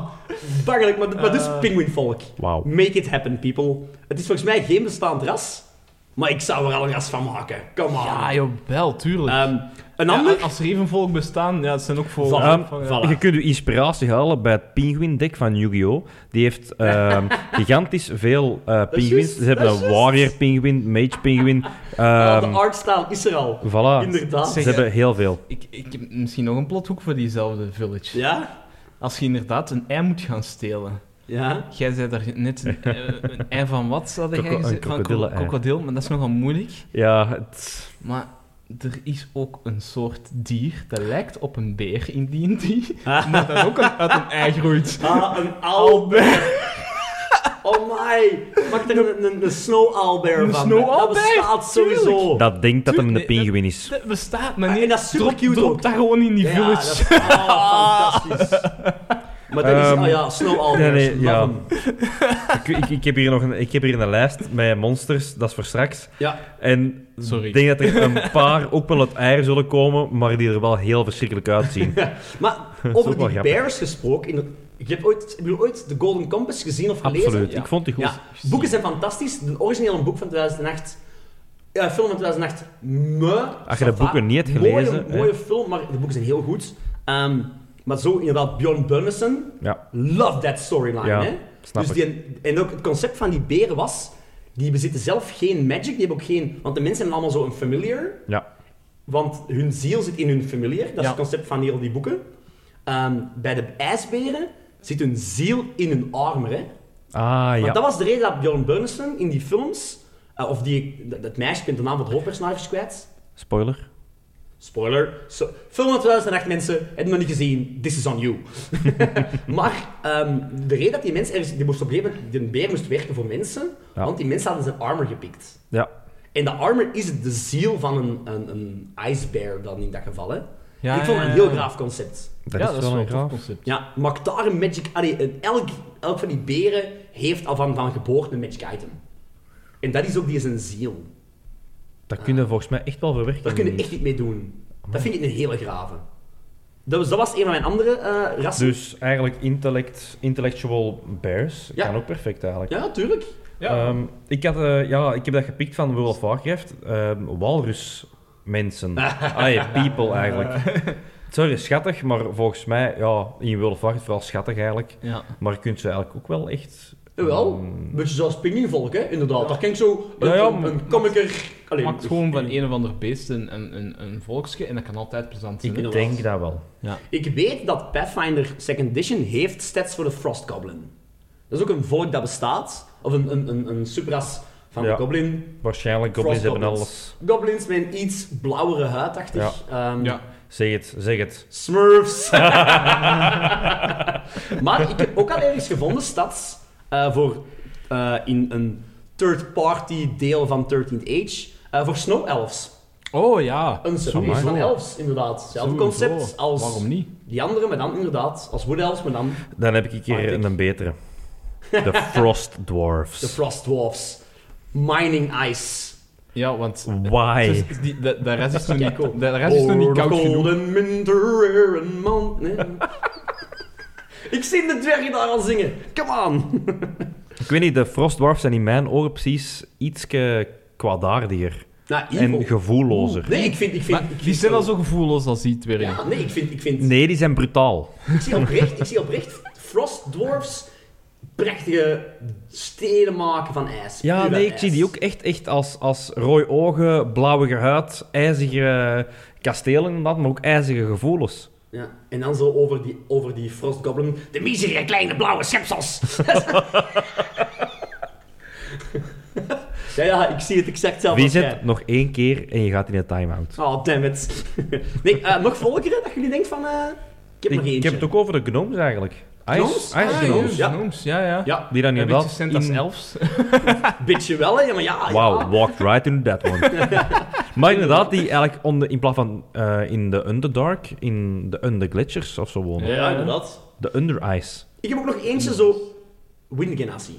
Bangelijk, maar, maar dus pinguïnvolk. Wauw. Make it happen, people. Het is volgens mij geen bestaand ras, maar ik zou er al een ras van maken. Come on. Ja, jawel, tuurlijk. Ehm, een Ja, ander? als revenvolk bestaan, ja, het zijn ook voor... Vallen, Ehm, voor- ja. vallen. Je kunt je inspiratie halen bij het pinguïndek van Yu-Gi-Oh! Die heeft ehm, gigantisch veel eh pinguïns. juist, Ze hebben dat is een warrior pinguïn, mage pinguïn. Ja, ehm de artstyle is er al. voilà. Inderdaad. Ze hebben heel veel. Ik, ik heb misschien nog een plothoek voor diezelfde village. Ja? Als je inderdaad een ei moet gaan stelen. Ja? Jij zei daar net een, eh, een ei van wat, had jij Kroko- een gezegd? Van kro- krokodillen-ei. krokodil, maar dat is nogal moeilijk. Ja, het... Maar er is ook een soort dier dat lijkt op een beer in D&D, maar dat ook een- uit een ei groeit. Ah, een aalbeer. Oh my. Maak er een, een, een snow aalbeer Een van. snow Dat aalbeer, bestaat sowieso. Dat denkt dat hem een Tuurlijk, nee, pinguïn is. Dat bestaat, Ah, maar nee, en dat is super drop, cute drop ook. dat gewoon in die ja, dat village. is ah, fantastisch. Maar dat is... Ehm, Ah ja, Snow Alders. nee, love nee, ja. him. Ik, ik, ik heb hier nog een, ik heb hier een lijst met monsters, dat is voor straks. Ja. En Sorry. ik denk dat er een paar ook wel uit eieren zullen komen, maar die er wel heel verschrikkelijk uitzien. Maar ook wel over die grappig. bears gesproken... In, ik heb ooit, heb je ooit The Golden Compass gezien of gelezen? Absoluut, ja. ik vond die goed. Ja, boeken zijn fantastisch. De originele boek van 2008... Ja, eh, film van 2008... Me, Als je de ça va. boeken niet hebt Mooie- gelezen, Mooie, hè. film, maar de boeken zijn heel goed. Ehm, maar zo inderdaad, Bjorn Bennison. Ja, Love that storyline, Ja, hè? snap dus ik. die, en ook het concept van die beren was... Die bezitten zelf geen magic, die hebben ook geen... Want de mensen hebben allemaal zo'n familiar. ja. Want hun ziel zit in hun familiar. Dat is Ja. het concept van heel die boeken. Ehm, bij de ijsberen zit hun ziel in hun armer. Hè? Ah, Want ja. dat was de reden dat Bjorn Bernison in die films... eh, of die, dat, dat meisje, ik ben de naam van de hoofdpersonage kwijt. Spoiler. Spoiler. So, film van 2008, mensen. Heb je het nog niet gezien? This is on you. maar ehm, de reden dat die mensen... ergens- Die moest op een gegeven moment... Die beer moest werken voor mensen. Ja. Want die mensen hadden zijn armor gepikt. Ja. En de armor is de ziel van een, een, een icebear dan in dat geval. Hè. Ja, ik vond het ja, ja, een heel ja. graaf concept. Dat ja, is wel een tof graaf. concept. Ja, maak daar een magic... Allee, een- elk, elk van die beren heeft al van, van geboorte een magic item. En dat is ook die zijn ziel. Dat kun je volgens mij echt wel verwerken. Daar kun je echt niet mee doen. Dat vind ik een hele grave. Dat was, dat was een van mijn andere eh rassen. Dus eigenlijk intellect, intellectual bears Ja. kan ook perfect eigenlijk. Ja, natuurlijk. Ja. Ehm, ik, had, eh, ja, ik heb dat gepikt van World of Warcraft. Ehm, walrusmensen. ah ja, people eigenlijk. Sorry, schattig, maar volgens mij, ja, in World of Warcraft vooral schattig eigenlijk. Ja. Maar je kunt ze eigenlijk ook wel echt... Jawel, Mm, een beetje zoals pinguïnvolk, hè, inderdaad. Daar kan ik zo een, Ja, ja, een, een komiker... Allee, dus- Maakt gewoon van een of ander beest een, een, een, een volksje en dat kan altijd plezant zijn. Ik hè. ik denk dat wel. Ik weet dat Pathfinder Second Edition heeft stats voor de Frost Goblin. Dat is ook een volk dat bestaat, of een, een, een, een subras van Ja. de Goblin. Waarschijnlijk goblins hebben Frostgoblins. alles. Goblins met een iets blauwere huidachtig. ehm, Ja. Zeg het, zeg het. Smurfs. maar ik heb ook al ergens gevonden stads eh, voor eh, in een third-party deel van 13th Age eh, voor Snow Elves. Oh ja. Een subrace Amai. van elves, inderdaad. Hetzelfde Sowieso. concept als Waarom niet? die andere, maar dan inderdaad als Wood Elves, maar dan Dan heb ik Maar hier ik- een betere. De Frost De Dwarfs. Frost Dwarfs. Mining Ice. Ja, want... Why? Dus die, de, de rest is nog Kijk, niet, ook. de rest is nog niet Over koud cold genoeg. and winter and mount- Nee. Ik zie de dwergen daar al zingen. Come on. Ik weet niet, de Frostdwarfs zijn in mijn oren precies iets kwaadaardiger Nou, evil. en gevoellozer. Nee, ik vind... Ik vind Maar ik vind die zijn zo- al zo gevoelloos als die twee. Ja, nee, ik vind... Ik, vind, Nee, die zijn brutaal. ik, zie oprecht, ik zie oprecht Frost Dwarfs prachtige stenen maken van ijs. Ja, Puur nee, uit ik ijs. zie die ook echt, echt als, als rooi ogen, blauwige huid, ijzige kastelen en dat, maar ook ijzige gevoelens. Ja. En dan zo over die, over die Frost Goblin. De miserige kleine blauwe schepsels. ja, ja, ik zie het exact zelf Wie als zit jij. nog één keer en je gaat in een time-out. Oh, damn it. nee, eh, nog volkeren dat jullie denken van... eh, ik heb Ik, nog eentje. ik heb het ook over de gnomes eigenlijk. Ice, Gnomes? ice Ah, gnomes. ja. ja, ja. Ja, Die dan Een inderdaad beetje cent als in- elfs. beetje wel, hè, maar Ah, ja. Wow, ja. walked right into that one. maar inderdaad, die eigenlijk onder, in plaats van eh, in de Underdark, in de Underglitchers of zo wonen. Ja, ja, inderdaad. De Under Ice. Ik heb ook nog eentje zo... Windgenatie.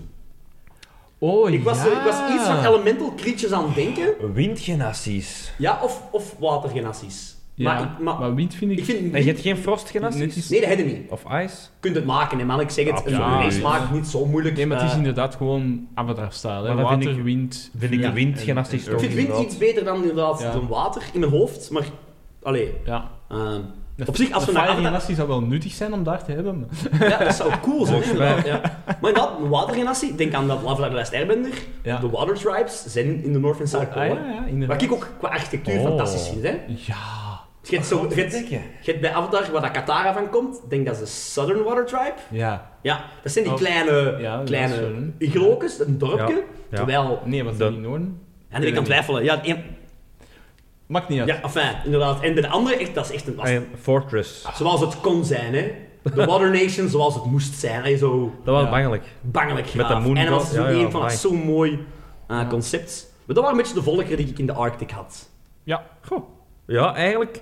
Oh, Ik was, ja. er- ik was iets van elemental creatures aan het denken. Windgenaties. Ja, of, of watergenaties. Ja, Maar, ik, maar, wind vind ik... ik vind... En je hebt geen Net frostgenaties? iets- Nee, dat heb je niet. Of ice? Je kunt het maken, hè, man. Ik zeg het. Een Absoluut. race maakt het niet zo moeilijk. Nee, maar het is Eh, inderdaad gewoon af en af staal. Hè. Maar dat vind Water, ik- wind, vind ik vuur de wind en- geen assis en- toch. Ik vind wind inderdaad. iets beter dan inderdaad Ja. dan water in mijn hoofd, maar... Allee, Ja. ehm, Op zich, als De we naar fire Arda- genastie zou wel nuttig zijn om daar te hebben. maar- ja, dat zou cool zijn, Volgens mij. inderdaad. Ja. Maar inderdaad, watergenatie, denk aan dat Lava Last Airbender, Ja. de Water Tribes zijn in de North en South Ah, Pole. ja, hè. ja, Wat inderdaad. ik ook qua architectuur Oh. fantastisch vind. Hè. Ja. Je hebt, Oh, zo, je hebt- je hebt bij Avatar, waar dat Katara van komt, denk dat is de Southern Water Tribe. Ja. Ja, dat zijn die Oh. kleine, Ja, dat is kleine Southern. iglokes, een dorpje. Ja. Ja. Terwijl, Nee, wat is De- die noorden? en ik kan twijfelen. Ja, een- Maakt niet uit. ja, enfin, inderdaad. En de andere, echt, dat is echt een Ah, was- En Ah, Fortress. Zoals het kon zijn, hè. De Water Nation zoals het moest zijn. Hè. Zo Dat was Ja. bangelijk. bangelijk Met de graaf. moon en dat was god, zo ja, ja, een van amai. zo'n mooi eh, concept. Maar dat waren een beetje de volkeren die ik in de Arctic had. Ja. Goh. Ja, eigenlijk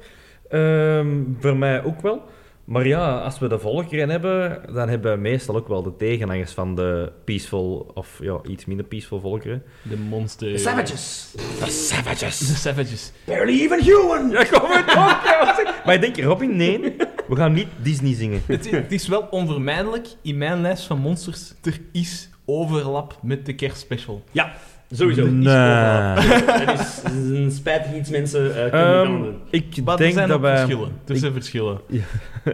ehm, voor mij ook wel. Maar ja, als we de volkeren hebben, dan hebben we meestal ook wel de tegenhangers van de peaceful, of ja, iets minder peaceful volkeren. De monster... The savages. De De savages! savages. Barely even human. Ja, kom maar, kom maar. Maar ik denk, Robin, nee, we gaan niet Disney zingen. Het, is- het is wel onvermijdelijk, in mijn lijst van monsters, er is overlap met de kerstspecial. Ja, sowieso. Iets Nee. overal. Dat is dat is een spijtig iets, mensen. eh, kunnen Ehm, um, doen. ik Maar er denk zijn dat ook wij... verschillen. Er zijn verschillen.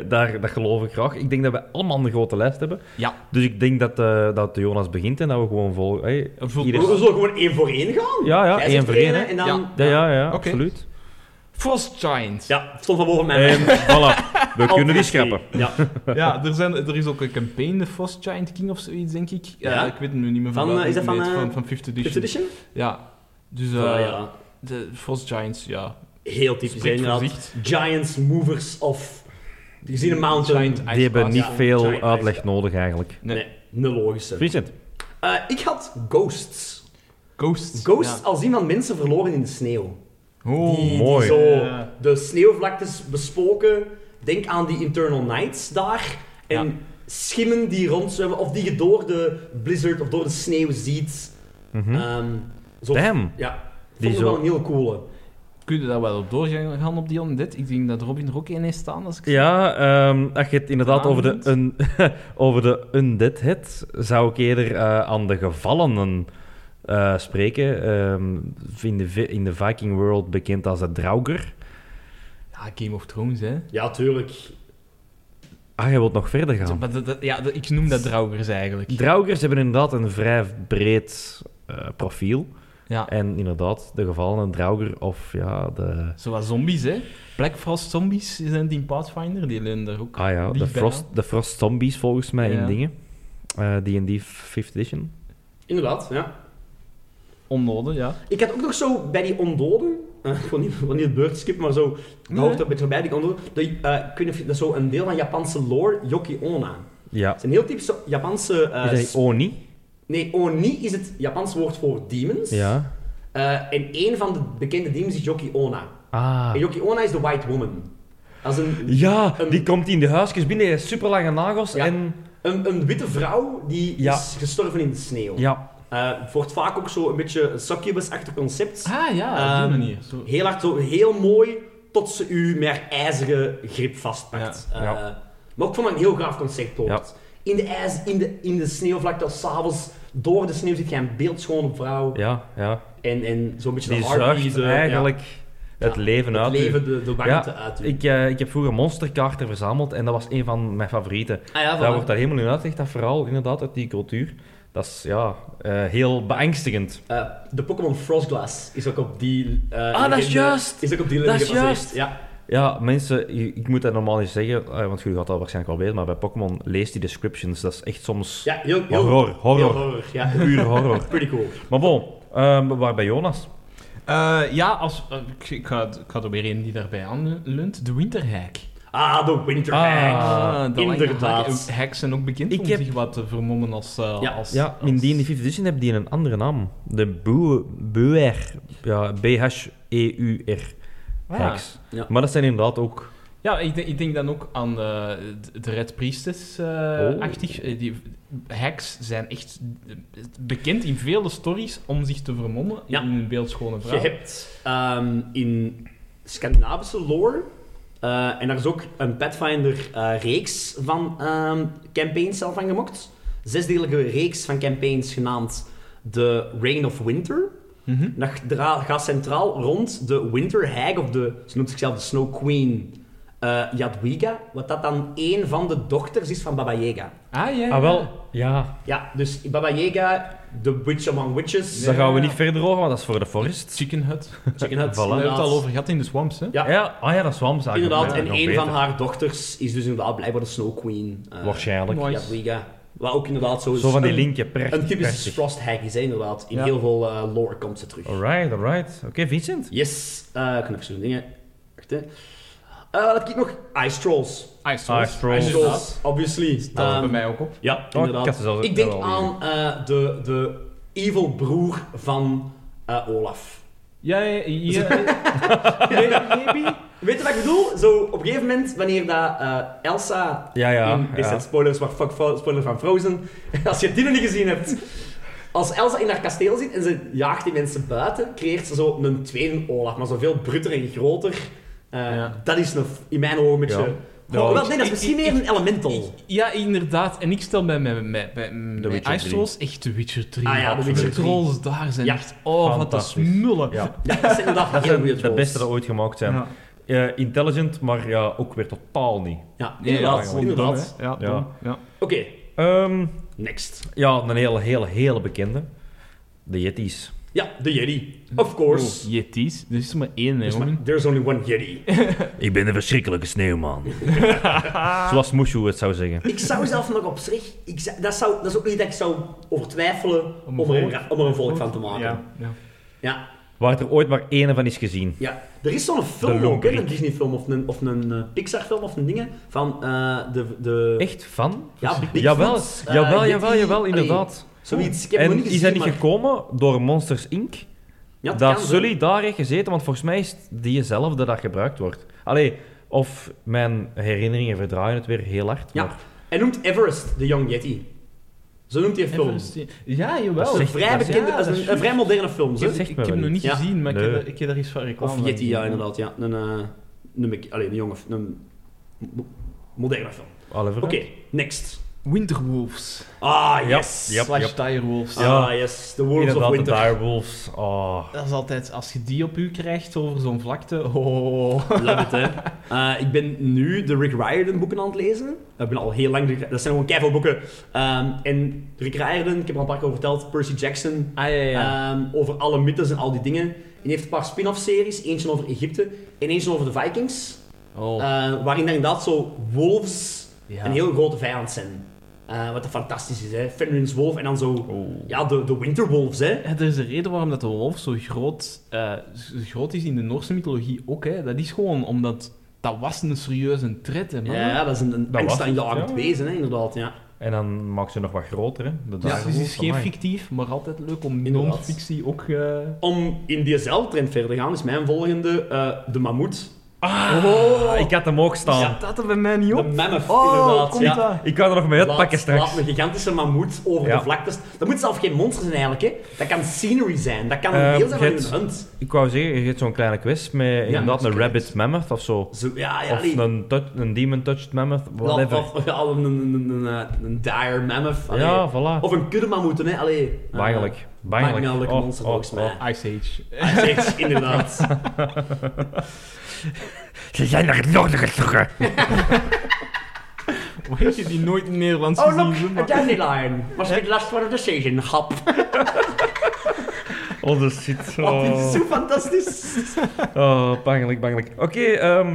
Daar, dat geloof ik graag. Ik denk dat wij allemaal een grote lijst hebben. Ja. Dus ik denk dat, eh, dat de Jonas begint en dat we gewoon volgen. Hey, Voor- We ieder- we zullen gewoon één voor één gaan. Ja, ja, Jij één zegt voor één. één, hè. hè, En dan... Ja. Ja, ja, ja, Oké. absoluut. Frost Giant. Ja, het stond van boven mijn En lijst. voilà, we Ehm, kunnen die Altijd schrappen. twee. Ja. Ja, er, zijn, er is ook een campaign, de Frost Giant King of zoiets, denk ik. Ja, Ja. ik weet het nu niet meer Van, welke eh, is dat het van, heet, eh, van, van Fifth Edition. Fifth edition? Ja. Dus eh, Ah, ja. de Frost Giants, ja. Heel typisch, hè, Spreekt voor inderdaad. zich. Giants, movers of... Je ziet een mountain. Giant Ice Die hebben Blast. niet Ja. veel Giant uitleg ijs. nodig eigenlijk. Nee. Nee, nul logische. Vincent, Eh, ik had ghosts. Ghosts. Ghosts Ja. als iemand mensen verloren in de sneeuw. Oh, die, mooi. die zo Ja. de sneeuwvlaktes bespoken. Denk aan die Internal Nights daar. En Ja. schimmen die rondzwemmen, of die je door de blizzard of door de sneeuw ziet. Ehm, zo, Mhm. Hm? damn. Ja, Die die is zo- wel een heel coole. Kun je daar wel op doorgaan gaan op die on dit? Ik denk dat Robin er ook in heeft staan. Als ik... Ja, ehm, als je het inderdaad over de, Vanavond. un, over de undead hebt, zou ik eerder eh, aan de gevallenen eh, spreken. Ehm, in, de, vi- in de Viking world bekend als de Draugr. Ja, Game of Thrones, hè. Ja, tuurlijk. Ah, je wilt nog verder gaan. Maar dat- dat- ja, dat- ik noem dat draugers eigenlijk. Draugers hebben inderdaad een vrij breed eh, profiel. Ja. En inderdaad, de gevallenen Draugr of ja, de... Zoals zombies, hè. Black Frost zombies zijn het in Pathfinder. Die leunen daar ook. Ah ja, Die de bijna. Frost, de Frost Zombies volgens mij Ja. in dingen. Eh, D&D 5th edition. Inderdaad, ja. Onnodig, ja. Ik had ook nog zo bij die ondoden, eh, gewoon niet, gewoon niet het beurtskip, maar zo, Nee. nee. hoofd op het voorbij, die ondoden, dat, eh, ik weet niet of je- dat is zo een deel van Japanse lore, yoki ona. Ja. Het zijn heel typische Japanse... eh, Is sp- hij Oni? nee, oni is het Japanse woord voor demons. Ja. Eh, en één van de bekende demons is yoki ona. Ah. En yoki ona is de white woman. Dat is een, Ja, Een- die komt in de huisjes binnen, die heeft super lange nagels Ja. en... een, een witte vrouw die Ja. is gestorven in de sneeuw. Ja. Eh, het wordt vaak ook zo een beetje een succubus-achtig concept. Ah ja, op die Ehm, manier. Zo. Heel hard, zo, heel mooi, tot ze u met haar ijzeren grip vastpakt. Ja. Eh, Ja. Maar ook van een heel gaaf concept hoort. In de ijs, in de, in de sneeuwvlakte, als s'avonds door de sneeuw zit jij een beeldschone vrouw. Ja, ja. En, en zo'n beetje Die de heartbeat, zuigt eh, ja, eigenlijk het Ja, leven het uit. u. leven, de, de warmte uit. u. Ik, eh, ik heb vroeger monsterkaarten verzameld en dat was een van mijn favorieten. ah, ja, Daar voilà. wordt daar helemaal in uitgelegd, dat verhaal inderdaad uit die cultuur. Dat is ja, eh, heel beangstigend. Eh, de Pokémon Frostglass is ook op die... eh, Ah, dat is legende- juist. Is ook op die Dat is legende gebaseerd. juist. Ja. Ja, mensen, je- ik moet dat normaal niet zeggen, eh, want jullie gaat dat waarschijnlijk wel weten, maar bij Pokémon lees die descriptions. Dat is echt soms ja, heel... heel horror, horror, heel horror, ja. puur horror. Pretty cool. maar bon, ehm, waar bij Jonas? Eh, ja, als, eh, ik, ik ga, ik ga er weer een die daarbij aan leunt. De Winterhack. Ah, de Winter Hag. Ah, de lange inderdaad. hak- Hacks zijn ook bekend Ik om heb- zich wat te vermommen als... eh, Ja, als Ja, als- in die 5th edition heb die een andere naam. De Boe- Buer. Ja, E B-H-E-U-R. Ah. Heks. Ja. Maar dat zijn inderdaad ook... Ja, ik denk, ik denk dan ook aan eh, de, de Red Oh. Priestess-achtig. Eh, die hacks zijn echt eh, bekend in vele stories om zich te vermommen Ja. in een beeldschone vrouw. Je hebt ehm, in Scandinavische lore, eh, en daar is ook een Pathfinder-reeks van ehm, campaigns zelf van gemokt. Zesdelige reeks van campaigns genaamd The Reign of Winter. Mhm. Dat dra- gaat centraal rond de Winter Hag, of de, ze noemt zichzelf de Snow Queen, eh, Jadwiga. Wat dat dan één van de dochters is van Baba Yaga. Ah, ja. Ah, ja. wel. Ja. Ja, dus Baba Yaga, de Witch Among Witches. Dus daar gaan we Ja. niet verder over, want dat is voor de forest. Chicken Hut. Chicken Hut, Voilà. We hebben het inderdaad. al over gehad in de swamps, hè? Ja. Ja, ah ja, dat is Wamzaak. Inderdaad, Ja, en nog een beter. van haar dochters is dus inderdaad blijkbaar de Snow Queen. eh, Waarschijnlijk. Mooi. Jadwiga. Wat ook inderdaad zo is. Zo van die een- linkje, prachtig, Een typische prachtig. Frost Hag is, hè, inderdaad. In Ja. heel veel eh, lore komt ze terug. Alright, alright. Oké, Vincent. Yes, eh, ik kan even zo'n dingen. Wacht, hè. Eh, wat heb ik nog? Ice Trolls. Ice Trolls. Ice Trolls. Ice Ah, Inderdaad. Trolls, obviously. Dus Dat was Ehm, bij mij ook op. Ja, Oh, ik had ze inderdaad. zelfs Ik denk wel al aan eh, de, de evil broer van eh, Olaf. Ja, ja, eh, ja. ja. Maybe? Weet je wat ik bedoel? Zo, op een gegeven moment, wanneer dat, eh, Elsa... Ja, ja, in- dit ja. zijn spoilers, maar fuck fo- spoilers van Frozen. Als je die nog niet gezien hebt. Als Elsa in haar kasteel zit en ze jaagt die mensen buiten, creëert ze zo een tweede Olaf, maar zo veel brutter en groter. Eh, Ja. Dat is een, in mijn ogen een beetje... Ja. Goh, Ja, wel, ik- nee, dat is ik- misschien ik- meer een elemental. Ja, inderdaad. En ik stel bij mijn, bij, bij mijn Witcher Ice Trolls echt The Witcher 3. Ah ja, The Witcher drie. Trolls daar zijn Ja, echt... Oh, wat dat fantastisch. smullen. Ja. Ja, dat is inderdaad Dat heel zijn weird de roles. beste dat ooit gemaakt zijn. Ja. Eh, intelligent, maar ja, ook weer totaal niet. Ja, Nee, inderdaad. ja, inderdaad. dom, hè. Ja, Ja. dom, ja. Oké, Ehm, next. ja, een hele, hele, hele bekende. De Yetis. Ja, de Jedi. Of course. Oh, Yetis. Er is er maar één, hè, Dus maar- jongen. There's only one Jedi. Ik ben een verschrikkelijke sneeuwman. Zoals Mushu het zou zeggen. Ik zou zelf nog op zich... Ik zou- dat, zou, dat is ook niet dat ik zou over twijfelen om, Om een er, een, volk- ra- om er een volk van te maken. Ja. Ja. ja. Waar er ooit maar één van is gezien. Er is zo'n film De ook, hè, Lombriek. een Disney-film of een, of een eh, Pixar-film of een dingen van eh, de... de Echt van? Ja, Bigfoot, Jawel, eh, jawel, jawel, Yeti, jawel, allee, inderdaad. zoiets. Ik heb hem nog En niet gezien, die zijn niet maar- gekomen door Monsters Inc. Ja, het dat kan zo. Sully daar heeft gezeten, want volgens mij is het diezelfde dat gebruikt wordt. Allee, of mijn herinneringen verdraaien het weer heel hard. Ja. maar Hij noemt Everest de Young Yeti. Zo noemt hij een film. Everest- Ja, jawel. Dat is een zegt- vrij, dat is- bekende, Ja, dat is een, een vrij moderne film. Dat Zo. is- Ik zegt ik me heb hem wel nog niet iets. gezien, maar ik, Nee. heb, er- ik heb daar iets van reclame Of van Yeti, gezien. ja, inderdaad. Ja. Een, eh, een, bek- allee, een jonge... Een mo- moderne film. alle Oké, next. Winterwolves. Ah, Ja, yes. ja. Yep, slash yep. Direwolves. Ja. Ah, yes. The Wolves Inderdaad, of de Winter. direwolves. Oh. Dat is altijd, als je die op u krijgt over zo'n vlakte. Oh. Love it, hè. Eh, ik ben nu de Rick Riordan boeken aan het lezen. Ik ben al heel lang... de- Dat zijn gewoon keiveel boeken. Ehm, en Rick Riordan, ik heb er al een paar keer over verteld, Percy Jackson, Ah ja, ja. ehm, over alle mythes en al die dingen. En hij heeft een paar spin-off series, eentje over Egypte en eentje over de Vikings. oh. eh, waarin dan inderdaad zo wolves ja. een heel grote vijand zijn. Eh, wat dat fantastisch is, hè. Fenrir's wolf en dan zo... Ja, de, de winterwolves, hè. Ja, Oh. Er is een reden waarom dat de wolf zo groot, eh, zo groot is in de Noorse mythologie ook. Hè. Dat is gewoon omdat dat was een serieuze tred. Hè, man. Ja, ja, Ah. dat is een, een Dat was het, angstaanjagend ja. wezen, hè, inderdaad. Ja. En dan maakt ze nog wat groter, hè? De Dus het is direwolf, geen amai. fictief, maar altijd leuk om Inderdaad. non-fictie ook... eh, Om in diezelfde trend verder te gaan, is mijn volgende eh, de mammoet. Ah, Oh. ik had hem ook staan. Ja. Dat er bij mij niet De op. mammoth, Oh, inderdaad. komt ja. dat? Ik kan er nog mee Laat- uitpakken straks. Laat een gigantische mammoet over Ja. de vlakte. st- Dat moet zelf geen monster zijn eigenlijk, hè. Dat kan scenery zijn. Dat kan een Ehm, deel zijn van Gert. hun hunt. Ik wou zeggen, je hebt zo'n kleine quest met dat inderdaad is een correct. rabbit mammoth of zo. Zo, ja, ja, Of die- een, tou- een demon-touched mammoth, whatever. Of, of- ja, een, een, een, een, eh, een dire mammoth. allee. ja, voilà. Of een kudde mammoeten, hè. Allee. Eh, Bangelijk. Maakt Bangelijk. niet uit welke Oh, monster, oh, volgens oh. mij. Ice Age. Ah, zeg, inderdaad. Ze zijn naar het noorden getrokken. Hoe heb je die nooit in Nederlands Oh, gezien? look, a maar- dandelion. Was it last one of the season? Hap. Oh, dat zit zo... Oh, dit is zo fantastisch. Oh, bangelijk, bangelijk. Oké, ehm,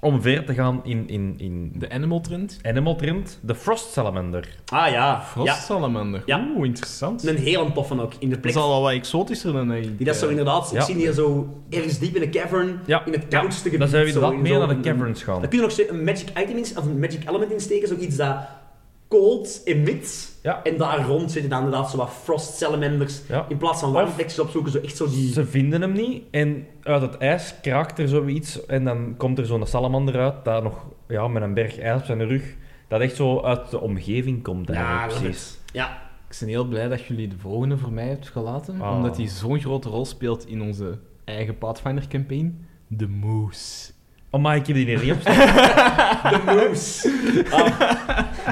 om verder te gaan in, in, in De Animal Trend. Animal Trend, de Frost Salamander. Ah ja. Frost Salamander. Ja. Oeh, interessant. ja. Een hele toffe ook. In de Dat plek. is al wel wat exotischer dan ik. Die dat zo eh, inderdaad. Ik Ja. zie die zo ergens diep in een cavern. Ja. In het koudste gebied. Dan zijn we zo, inderdaad in meer zo'n- naar de caverns gaan. Dan kun je nog steeds een magic item in, of een magic element insteken. Zoiets dat cold emit. Ja. En daar rond zitten dan inderdaad zo wat frost salamanders. Ja. In plaats van warm plekjes opzoeken. Zo echt zo die... Ze vinden hem niet en uit het ijs kraakt er zoiets en dan komt er zo'n salamander uit, daar nog ja, met een berg ijs op zijn rug, dat echt zo uit de omgeving komt ja, eigenlijk, dat precies. is- Ja. Ik ben heel blij dat jullie de volgende voor mij hebt gelaten, Oh. omdat die zo'n grote rol speelt in onze eigen Pathfinder-campaign. De moes. Oh, maar ik heb die hier niet op staan. De moose.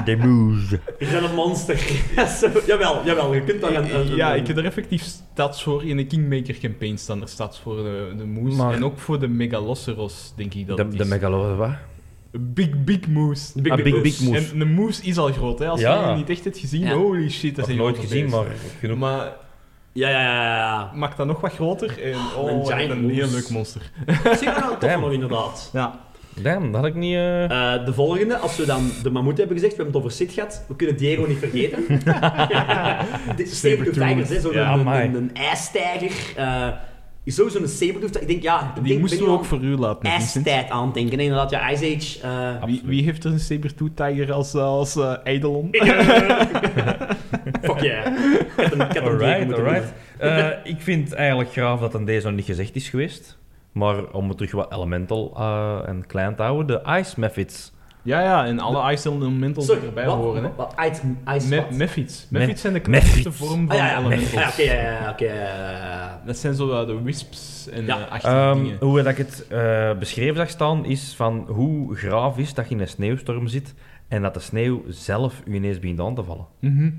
De moose. Je bent een monster. Ja, zo, jawel, jawel. Je kunt daar een... een- Eh, Ja, een- ik heb er effectief stats voor in de Kingmaker-campaign staan. Er stats voor de, de moes Maar- en ook voor de Megaloceros, denk ik dat De, het de is. megalosaurus, wat? big, big moes. Big, big, Ah, big, moose. big moose. En de moes is al groot, hè. Als Ja. je die niet echt hebt gezien, Ja. holy shit, dat Dat heb is ik nooit gezien, maar eh, genoeg. Maar Ja, ja, ja, ja. maak dat nog wat groter en oh, een dat is giant een moes. heel leuk monster. ja. Zie je nou een toffe Damn. nog, inderdaad. Ja. Damn, dat had ik niet... eh, Eh, de volgende, als we dan de mammoet hebben gezegd, we hebben het over Sid gehad, we kunnen Diego niet vergeten. De Sabertooth Tigers, hè, zo'n Ja, een, amai. een, een ijstijger. eh, is sowieso een Sabertooth. Ik denk, ja, ik Die denk, moesten ben we je ook aan voor u laten, Vincent. ijstijd aan het denken. Inderdaad, ja, Ice Age. eh, Absoluut. Wie, wie heeft er een Sabertooth Tiger als, eh, als eh, eidolon? eh, Fuck yeah. Ik had hem, ik had hem tegen Alright, moeten alright. Eh, ik vind eigenlijk graaf dat een deze nog niet gezegd is geweest. Maar om het terug wat elemental eh, en klein te houden, de Ice Methods. Ja, ja, en alle ice elementen Sorry, erbij wat? horen. Hè. Wat? Ice, ice Me- wat? Mephites. Me- Mephites zijn de krachtigste Mephites. vorm Ah, van ja, ja, elementen. ja, oké, ja, ja, oké. ja. Dat zijn zo eh, de wisps en Ja. ja. achtige Ehm, dingen. hoe dat ik het eh, beschreven zag staan, is van hoe graaf is dat je in een sneeuwstorm zit en dat de sneeuw zelf u ineens begint aan te vallen. Mhm.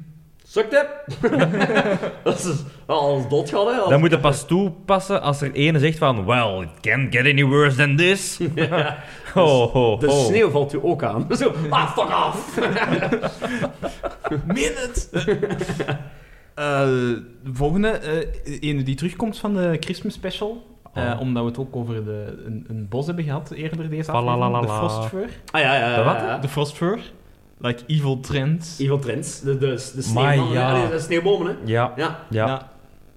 Sukt het? Dat is al doodgaan, hè. Dan moet je pas toepassen als er ene zegt van Well, it can't get any worse than this. oh, oh, De oh. sneeuw valt u ook aan. Zo, ah, fuck off! Meen het! Eh, de volgende, eh ene die terugkomt van de Christmas special. eh, Oh. Omdat we het ook over de, een, een bos hebben gehad eerder deze Palalalala. aflevering. De Frostfur. Ah, ja, ja, ja. De wat? ja. De Frostfur. Like evil trends. Evil Trends. De, de, de Maar sneeuwmannen, ja. ja, de sneeuwbomen, hè. Ja, Ja. ja. Nou,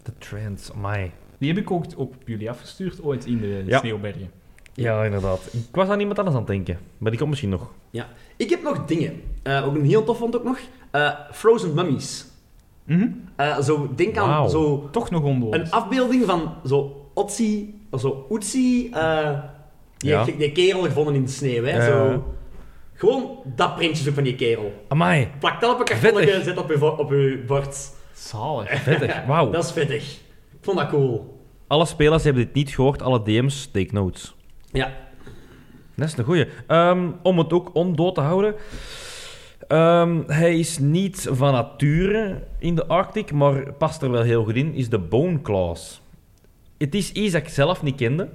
De trends, my. die heb ik ook ook op jullie afgestuurd ooit in de Ja. sneeuwbergen. Ja, inderdaad. Ik was aan iemand anders aan het denken, maar die komt misschien nog. Ik heb nog dingen. Eh, ook een heel tof vond ik nog. Eh, Frozen Mummies. Mhm. Eh, zo, denk aan Wauw. zo Toch nog onlogisch. een afbeelding van zo Otzi, zo Oetsi, eh, die, Ja. die kerel gevonden in de sneeuw. Hè? Ja. Zo, gewoon dat printje zo van die kerel. Amai, Plak dat op een Vettig. kartonnetje en zet op je, vo- op je bord. Zalig. vettig, wauw. Dat is vettig. Ik vond dat cool. Alle spelers hebben dit niet gehoord, alle DM's, take notes. Ja. Dat is een goeie. Ehm, om het ook ondood te houden. Ehm, hij is niet van nature in de Arctic, maar past er wel heel goed in, is de Bone Claws. Het is iets dat ik zelf niet kende,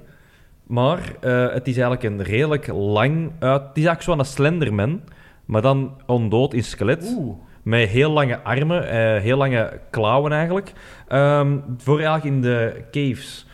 maar eh, het is eigenlijk een redelijk lang... uit. het is eigenlijk zo'n Slenderman, maar dan ondood in skelet. Oeh. Met heel lange armen, eh, heel lange klauwen eigenlijk. Ehm, voor eigenlijk in de caves.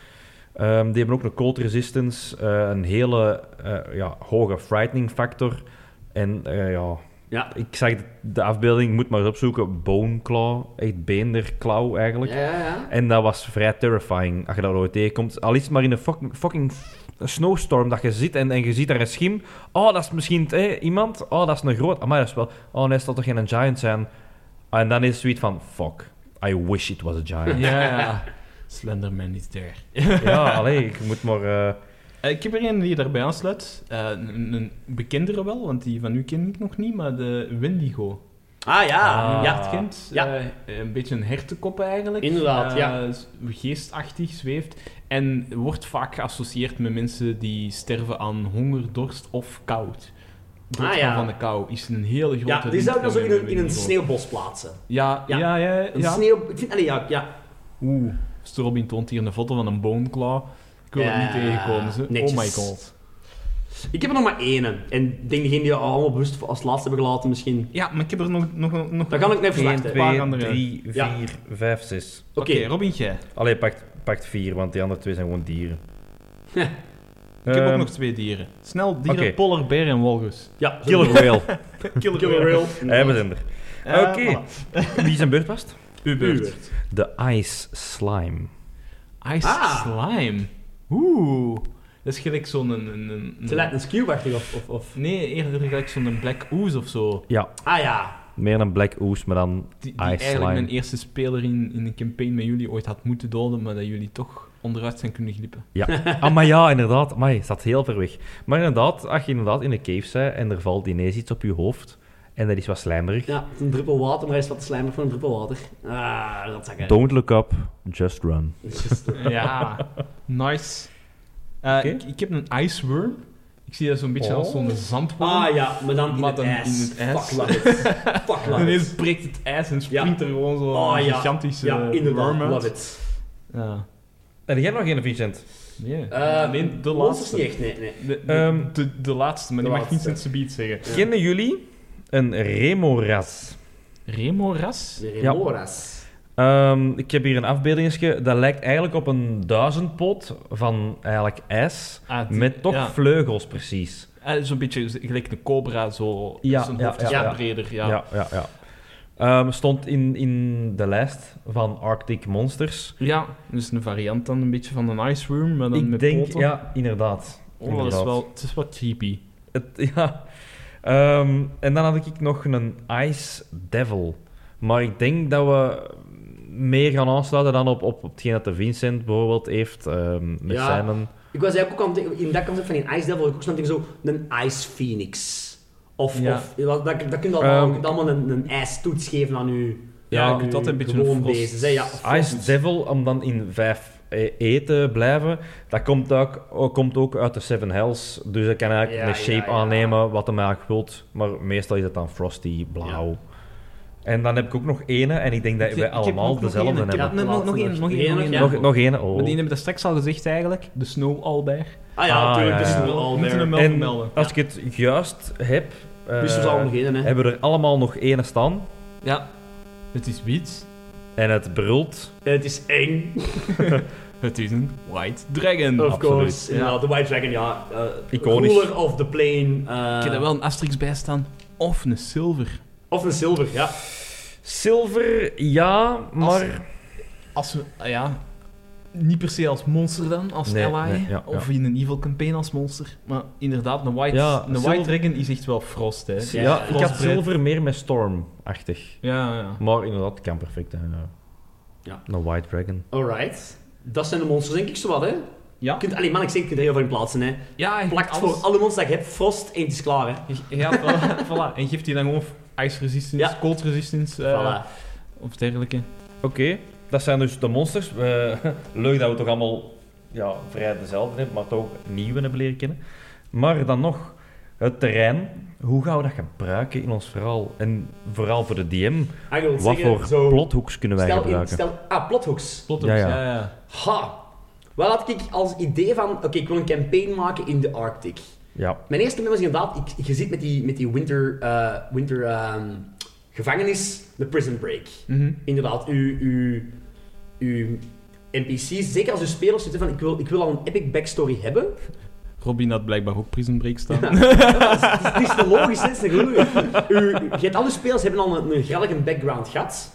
Ehm, die hebben ook een cold resistance, eh, een hele eh, ja, hoge frightening factor. En eh, ja, Ja. ik zag de, de afbeelding, moet maar eens opzoeken, bone claw, echt beenderklauw eigenlijk. Ja, ja, ja. En dat was vrij terrifying, als je dat ooit tegenkomt. Al is het maar in een fucking, fucking snowstorm dat je zit en, en je ziet daar een schim. Oh, dat is misschien eh, iemand. Oh, dat is een groot. Maar dat is wel... Oh nee, het zal toch geen giant zijn? En dan is het zoiets van... Fuck, I wish it was a giant. Ja, ja. Slenderman is there. ja, allee, ik moet maar... eh, Eh, Ik heb er een die daarbij aansluit. Eh, een, een bekendere wel, want die van u ken ik nog niet, maar de Wendigo. Ah ja. Ah. ja. Het kind, Ja. eh, een beetje een hertenkop eigenlijk. Inderdaad, Eh, ja. z- Geestachtig zweeft. En wordt vaak geassocieerd met mensen die sterven aan honger, dorst of koud. Doodgaan Ah, ja. van de kou is een hele grote... Ja, die zou ik dan zo in een, in een sneeuw. sneeuwbos plaatsen. Ja, Ja. ja, ja. ja, Een sneeuw... Ik vind, allee, ja, ja. Oeh, Strobin toont hier een foto van een boonklaw. Ik wil Ja, het niet tegenkomen. ze. Oh my netjes. god. Ik heb er nog maar ene. En ik denk degene die we allemaal bewust voor als laatste hebben gelaten misschien. Ja, maar ik heb er nog... nog, nog Dan kan ik net 1, verwachten. Oké, 2, andere. 3, 4, Ja. 5, 6. Oké, Robin, jij. Allee, pakt, pakt 4, want die andere twee zijn gewoon dieren. Ja. Ik heb Ehm, ook nog twee dieren. Snel, dieren, oké. polar bear en walrus. ja. Killer whale. Killer Whale. Hij was er. Eh, Oké. voilà. Wie zijn beurt was? het? Uw beurt. De Ice Slime. Ice Ah. slime. Oeh. Dat is gelijk zo'n... Een, een, een, Ze lijkt een skew of, of, of... Nee, eerder gelijk zo'n black ooze of zo. Ja, Ah ja. Meer een Black Ooze, maar dan Die, die Ice eigenlijk Slime. mijn eerste speler in, in een campaign met jullie ooit had moeten doden, maar dat jullie toch onderuit zijn kunnen glippen. Ah, maar ja, inderdaad. Maar je staat heel ver weg. Maar inderdaad, als je inderdaad in een cave bent en er valt ineens iets op je hoofd en dat is wat slijmerig. Ja, het is een druppel water, maar hij is wat slijmer voor een druppel water. Ah, dat zag ik. Don't look up, just run. Ja. nice. Eh, Oké. ik, ik heb een ice worm. Ik zie dat zo'n beetje Oh. als zo'n zandworm. Ah ja, maar dan in Maar het dan ijs. in het ijs. Fuck love it. Fuck En love it. ineens breekt het ijs en springt er gewoon zo'n Oh ja. gigantische Ja, inderdaad. worm uit. Love it. Ja. En jij nog geen Vincent? Nee, Eh, alleen de ons is laatste. niet echt, nee, nee. De, de, Ehm, de, de laatste, maar de die mag laatste. Vincent zijn beat zeggen. Ja. Kennen jullie een Remoras? Remoras? De Ja. Remoras. Ehm, ik heb hier een afbeeldingetje. Dat lijkt eigenlijk op een duizendpot van eigenlijk ijs. Ah, die- Met toch ja. vleugels, precies. Ah, Zo'n beetje z- gelijk een cobra, zo. Ja, zijn ja, hoofd is ja, wat ja. breder. Ja. Ja, ja, ja. Ehm, stond in, in de lijst van Arctic Monsters. Ja, dus een variant dan een beetje van een ice worm, maar dan ik met denk, poten. ja, inderdaad. Oh, dat is Inderdaad. wel, het is wel creepy. Het, ja. Ehm, en dan had ik nog een Ice Devil. Maar ik denk dat we meer gaan aansluiten dan op, op, op hetgeen dat de Vincent bijvoorbeeld heeft. ehm, met Ja. zijn... Ik was eigenlijk ook aan het denken- in dat concept van een Ice Devil, ik ook zo'n ding zo, een Ice Phoenix. Of, Ja. of dat, dat, dat kun je allemaal, Ehm. je kunt allemaal een, een ijstoets geven aan je Ja, je aan kunt je altijd een beetje gewoon een frost- bezig. hè. Ja, of- Ice Devil, om dan in 5E te blijven, dat komt ook, ook- komt ook uit de Seven Hells. Dus dat kan eigenlijk Ja, een shape ja, ja. aannemen wat hem eigenlijk wilt. Maar meestal is het dan frosty, blauw. En dan heb ik ook nog ene, en ik denk dat Ik- we ik heb allemaal nog dezelfde ene. Ik heb hebben. nog- nog- nog één, nog één, nog één. Nog, nog ene, Maar oh. die hebben we straks al gezegd eigenlijk. De Snow Albert. Ah ja, Ah, natuurlijk, ja, dus ja. we al Moeten there. hem En melden. als ik het juist heb, eh, Dus we zullen beginnen, hè. hebben we er allemaal nog ene staan. Ja. Het is wit. En het brult. Het is eng, Het is een White Dragon. of absoluut. course. Mm, Ja. Ja, de White Dragon, ja. eh, Iconisch. Ruler of the Plane. eh, Ik heb daar wel een asterisk bij staan. Of een Silver. Of een Silver, ja. Zilver, ja, maar... Als we, ah ja, niet per se als monster dan, als Nee, ally. nee, ja, of in een evil campaign als monster. Maar inderdaad, een White, Ja, een zilver- white Dragon is echt wel frost, hè. Ja, Ja, ik Frostbite. had zilver meer met storm-achtig. Ja, ja. Maar inderdaad, kan perfect. Hè. ja. Ja. Een White Dragon. Alright. Dat zijn de monsters, denk ik, zowat, hè. Ja, Je kunt, allee, man, ik zeg, je kunt er heel veel in plaatsen, hè. ja je Plakt hebt voor alles. alle monsters dat je hebt, frost, en het is klaar, hè. Je- Ja, voilà, voilà. En geeft die dan gewoon ice resistance, Ja. cold resistance eh, Voilà. of dergelijke. Oké, dat zijn dus de monsters. We- leuk dat we toch allemaal ja, vrij dezelfde hebben, maar toch nieuwe hebben leren kennen. Maar dan nog, het terrein. Hoe gaan we dat gebruiken in ons verhaal? En vooral voor de DM, Ah, ik wil wat zeggen, voor zo, plothoeks kunnen wij stel, in, gebruiken? stel, ah, plothoeks. Plot Ja, ja. ja, ja. Ha! Wat had ik als idee van, oké, ik wil een campaign maken in de Arctic. Ja, Mijn eerste nummer was inderdaad, ik, je zit met die, met die winter, eh, winter ehm, gevangenis, de prison break. Mhm. Inderdaad, uw, uw, uw NPC's, zeker als uw spelers zitten van, ik wil, ik wil al een epic backstory hebben. Robin had blijkbaar ook Prison Break staan. Het is te logisch, hè, het is te gelogen. U, u- je hebt alle spelers hebben al een, een grellige background gehad.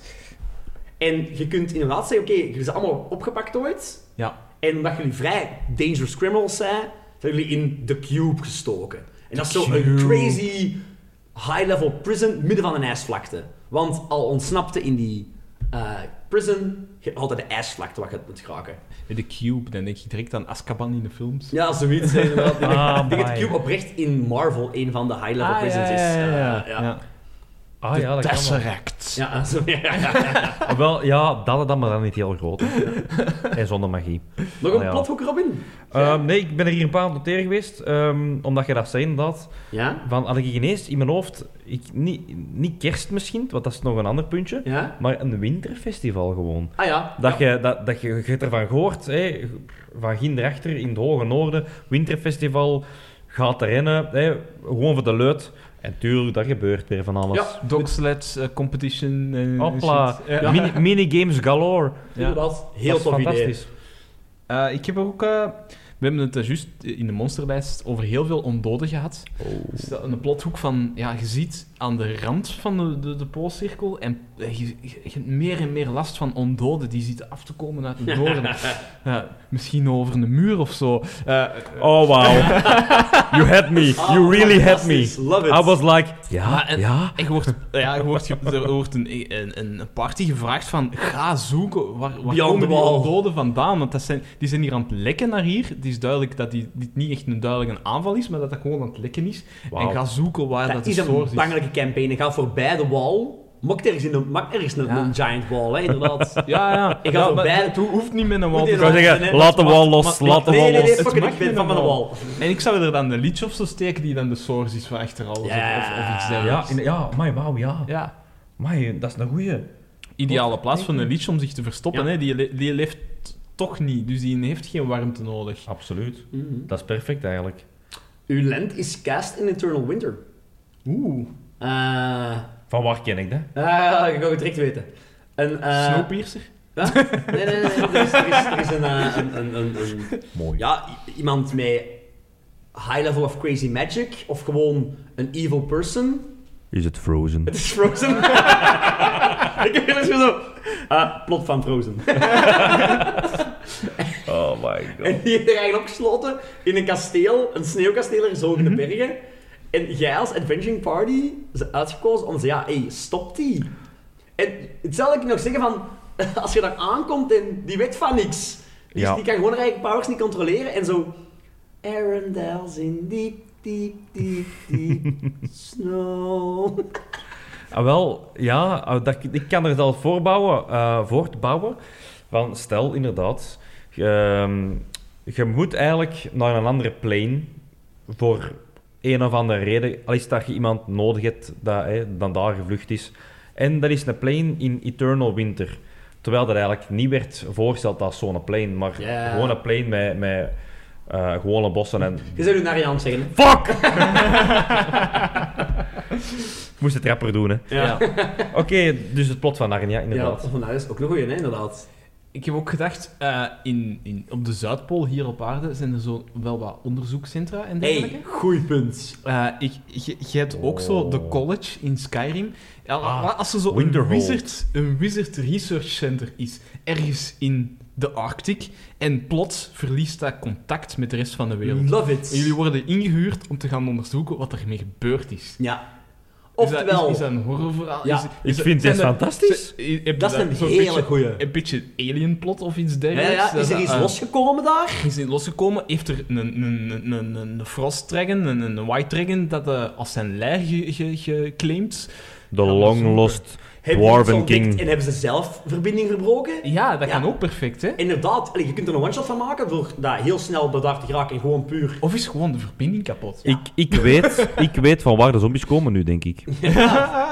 En je kunt inderdaad zeggen, oké, jullie zijn allemaal opgepakt ooit. Ja. En omdat jullie vrij dangerous criminals zijn, zijn jullie in de cube gestoken. En dat is zo een Cube. crazy high-level prison midden van een ijsvlakte. Want al ontsnapte in die eh, prison, je hebt altijd de ijsvlakte wat je moet geraken. De Cube, dan denk je direct aan Azkaban in de films. Ja, zoiets hè, inderdaad. Ik denk- Ah, ik denk dat my. Cube oprecht in Marvel een van de Ah, high-level prisons is. Eh, ja. ah, De ja dat kan wel. Tesseract. Ja, zo, ja. Ah, wel. Ja, dat dan, maar dan niet heel groot. hè. en zonder magie. Nog een Ah, ja. plothoek, Robin? Ja. Ehm, nee, ik ben er hier een paar aan het noteren geweest, ehm, omdat je dat zei inderdaad. Ja? Van had ik ineens in mijn hoofd, ik, niet, niet kerst misschien, want dat is nog een ander puntje, Ja? maar een winterfestival gewoon. Ah ja. Dat je, dat, dat je, je hebt ervan gehoord, hè, van Ginderachter in het hoge noorden, winterfestival, gaat er rennen, hè, gewoon voor de leut. En tuurlijk, daar gebeurt weer van alles. Ja, Dog sleds, eh, competition en Hopla. shit. Ja. Mini, minigames galore. Ja. inderdaad. Heel dat is tof idee. fantastisch. Eh, ik heb ook... eh, we hebben het eh, juist in de monsterlijst over heel veel ondoden gehad. Dus dat, een plothoek van... Ja, je ziet aan de rand van de, de, de poolcirkel en eh, je, je- je hebt meer en meer last van ondoden die zitten af te komen uit het noorden. Ja, misschien over een muur of zo. Eh, Oh, wow. you had me. You Ah, really had fantastisch. me. Love it. I was like, ja, Ja, en- ja. En je wordt, ja, je wordt, ge- er wordt een, een, een party gevraagd van ga zoeken waar, waar the komen die wall. ondoden vandaan. Want dat zijn, die zijn hier aan het lekken naar hier. Het is duidelijk dat die, dit niet echt een duidelijke aanval is, maar dat dat gewoon aan het lekken is. En Wauw. ga zoeken waar dat, dat de is source een is. bangelijke campaign. Je gaat voorbij de wall. Maakt ergens, in de, maakt ergens een, Ja. een giant wall, hè, inderdaad. Ja, ja. Ik ga ja, zo maar bij- Het ho- hoeft niet met een wal te Ik Ik wou Ja, zeggen, nee, laat de maar- wal los, maar- laat de nee, wal nee, nee, nee, los. Het fuck it, mag ik ben niet van de een wall. wall. En ik zou er dan een liedje of zo steken die dan de source is van achter alles. of- Ja. Of, of iets Ja, dergelijks. in- ja, my wauw, ja. ja. Amai, dat is een goeie. Ideale plaats voor een liedje om zich te verstoppen. Ja. Hè. Die, le- die leeft toch niet, dus die heeft geen warmte nodig. Absoluut. Mhm. Dat is perfect eigenlijk. Uw land is cast in Eternal Winter. Oeh. Eh Van waar ken ik dat? ah, ik ga het direct weten. Een, eh, Snowpiercer? Huh? Nee, nee, nee. nee, Er is, er is, er is een, eh, een, een, een, een- Mooi. Ja, i- iemand met high level of crazy magic. Of gewoon een evil person. Is het Frozen? Het is Frozen. ik heb er zo. Ah, plot van Frozen. Oh my En die heeft er eigenlijk opgesloten in een kasteel, een sneeuwkasteel ergens hoog in de bergen. En jij als Adventuring Party is uitgekozen om te zeggen: ja, hey, stop die. En hetzelfde kan ik nog zeggen van, als je daar aankomt en die weet van niks. Dus Ja. die kan gewoon haar eigen powers niet controleren en zo... Arendelle's in deep, deep, deep, deep snow. Ah, wel, ja, ah, dat, ik kan er zelf voorbouwen, eh, voortbouwen. Van, stel, inderdaad, ehm, je moet eigenlijk naar een andere plane voor een of andere reden. Al is het dat je iemand nodig hebt dat hè, dan daar gevlucht is. En dat is een plane in Eternal Winter. Terwijl dat eigenlijk niet werd voorgesteld als zo'n plane, maar Ja. gewoon een plane met, met eh, gewone bossen en... Je zou nu naar je hand zeggen. hè? Fuck! ik moest het rapper doen, hè. Ja. Oké, dus het plot van Narnia, inderdaad. Ja, van, dat is dus ook nog een goeie, hè, inderdaad. Ik heb ook gedacht, eh, in, in, op de Zuidpool hier op aarde zijn er zo wel wat onderzoekscentra en dergelijke. hey, goeie punt. Eh, ik, je, je hebt ook zo de college in Skyrim. Ja, Oh. Ah, als er zo een Winterhold. wizard, een wizard Research Center is, ergens in de Arctic, en plots verliest dat contact met de rest van de wereld. Love it. En jullie worden ingehuurd om te gaan onderzoeken wat ermee gebeurd is. Ja. Is dat- Oftewel, Is, is dat een horrorverhaal? Ja. Is- is Ik dat- vind zijn dit er- fantastisch. zijn- heb je dat is een zo'n hele beetje- goeie. Een beetje alien plot of iets Ja, dergelijks. ja, Ah. Dat is er dat, iets eh, losgekomen daar? is niet losgekomen, heeft er een, een, een, een, een Frost Dragon, een, een White Dragon, dat eh, als zijn lair ge- ge- geclaimd. De Gaan we long zoeken. lost. Hebben die Dwarven iets ontdekt King. En hebben ze zelf verbinding verbroken? Ja, dat Ja. kan ook perfect, hè? Inderdaad, allee, je kunt er een one-shot van maken door daar heel snel bij daar te geraken en gewoon puur. Of is gewoon de verbinding kapot? Ik, ik, weet, ik weet van waar de zombies komen nu, denk ik.